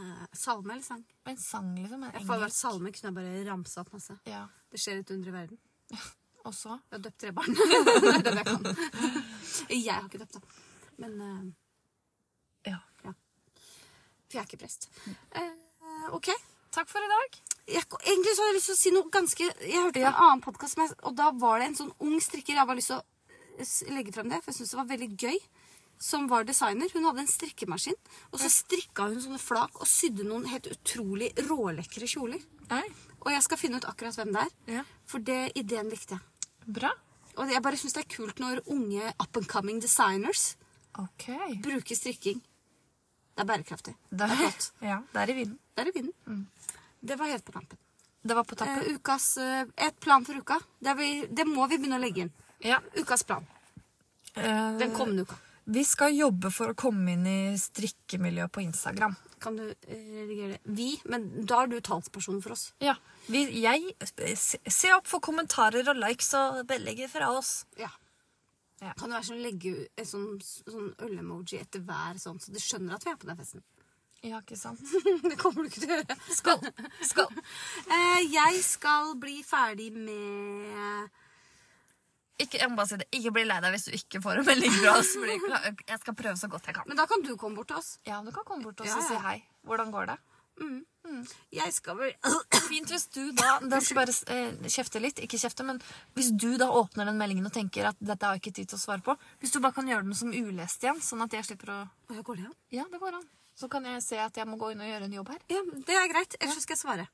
S2: Eh, salme eller sang?
S1: En sang, liksom. En
S2: Jeg får vært
S1: engelsk.
S2: salme, kunne jeg bare ramsa opp masse.
S1: Ja.
S2: Det skjer et under i verden.
S1: Og så
S2: Jeg har døpt tre barn. det er det jeg kan. Jeg har ikke døpt, da. Men eh,
S1: Ja.
S2: For jeg er ikke prest. Eh, ok.
S1: Takk for i dag.
S2: Jeg, egentlig så har jeg lyst til å si noe ganske Jeg hørte på en annen podkast, og da var det en sånn ung strikker. Jeg har bare lyst til å eh, s- legge frem det, for jeg syns det var veldig gøy. Som var designer. Hun hadde en strikkemaskin. Og så strikka hun sånne flak og sydde noen helt utrolig rålekre kjoler.
S1: Nei.
S2: Og jeg skal finne ut akkurat hvem det er.
S1: Ja.
S2: For det ideen likte jeg.
S1: Bra.
S2: Og jeg bare syns det er kult når unge up and coming designers
S1: OK.
S2: bruker strikking. Det Mm. er bærekraftig.
S1: Det
S2: er godt.
S1: Ja, det er i vinden.
S2: Der er vinden. Det var helt på tampen.
S1: Det var på tappen.
S2: Eh, ukas, eh, et plan for uka. Det, er vi, det må vi begynne å legge inn.
S1: ja.
S2: Ukas plan.
S1: Eh,
S2: Den kommende uka.
S1: Vi skal jobbe for å komme inn i strikkemiljøet på Instagram.
S2: Kan du eh, redigere det? Vi, men da er du talsperson for oss.
S1: Ja. Vi, jeg se, se opp for kommentarer og likes og belegger fra oss.
S2: Ja.
S1: Ja.
S2: Kan du være sånn legge u- en sånn, sånn øl-emoji etter hver sånn, så du skjønner at vi er på den festen?
S1: Ja, ikke sant?
S2: det kommer du ikke til å gjøre.
S1: Skål! Skål!
S2: Eh, jeg skal bli ferdig med
S1: Ikke, jeg må bare si det. Ikke bli lei deg hvis du ikke får en melding fra oss. fordi Jeg skal prøve så godt jeg kan.
S2: Men da kan du komme bort til oss.
S1: Ja, Du kan komme bort til oss
S2: Ja,
S1: og si
S2: ja.
S1: hei. Hvordan går det?
S2: Jeg skal vel
S1: Fint hvis du da Da skal jeg bare eh, kjefte litt. Ikke kjefte, men hvis du da åpner den meldingen og tenker at dette har jeg ikke tid til å svare på, hvis du bare kan gjøre den som ulest igjen, sånn at jeg slipper å
S2: Å, jeg Går det an?
S1: Ja, det går an. Så kan jeg se at jeg må gå inn og gjøre en jobb her.
S2: Ja, det er greit. Ellers så skal jeg svare.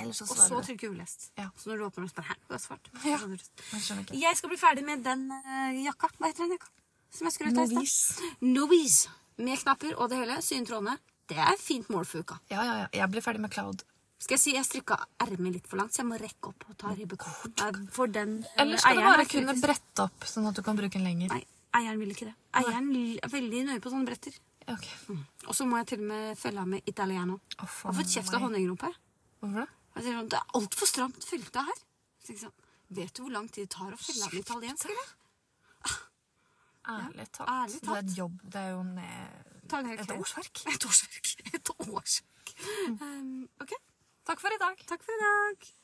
S1: Eller så
S2: Og så
S1: svarer du.
S2: trykke ulest.
S1: Ja.
S2: Så når du åpner den, så bare Hæ, du har svart. sånn
S1: Ja.
S2: Så du-
S1: Jeg skjønner ikke.
S2: Jeg skal bli ferdig med den eh, jakka. Hva heter den jakka? Som jeg skrøt av i
S1: Novis.
S2: stad. Novis. Med knapper og det hele. Syntrådene. Det er et fint mål for uka.
S1: Ja, ja, ja. Jeg blir ferdig med cloud.
S2: Skal jeg si jeg strikka ermet litt for langt, så jeg må rekke opp og ta ribbekort. For den eh,
S1: Eller skal du
S2: eieren er
S1: bare kunne
S2: kritisk.
S1: brette opp, sånn at du kan bruke den lenger?
S2: Nei, eieren vil ikke det. Eieren er veldig nøye på sånne bretter.
S1: Ok.
S2: Og så må jeg til og med følge av med italiano.
S1: Å,
S2: jeg har fått kjeft av
S1: faen meg.
S2: honninggropa.
S1: Hvorfor det?
S2: Jeg sier sånn, Det er altfor stramt fylte her. Så tenker jeg sånn, Vet du hvor lang tid det tar å følge av med italiensk? eller?
S1: Ærlig talt.
S2: ærlig
S1: Det er et jobb. Det er jo en, eh,
S2: Ta en hel
S1: et
S2: kveld.
S1: årsverk.
S2: Et årsverk. Et årsverk. Um, ok,
S1: Takk for i dag.
S2: takk for i dag.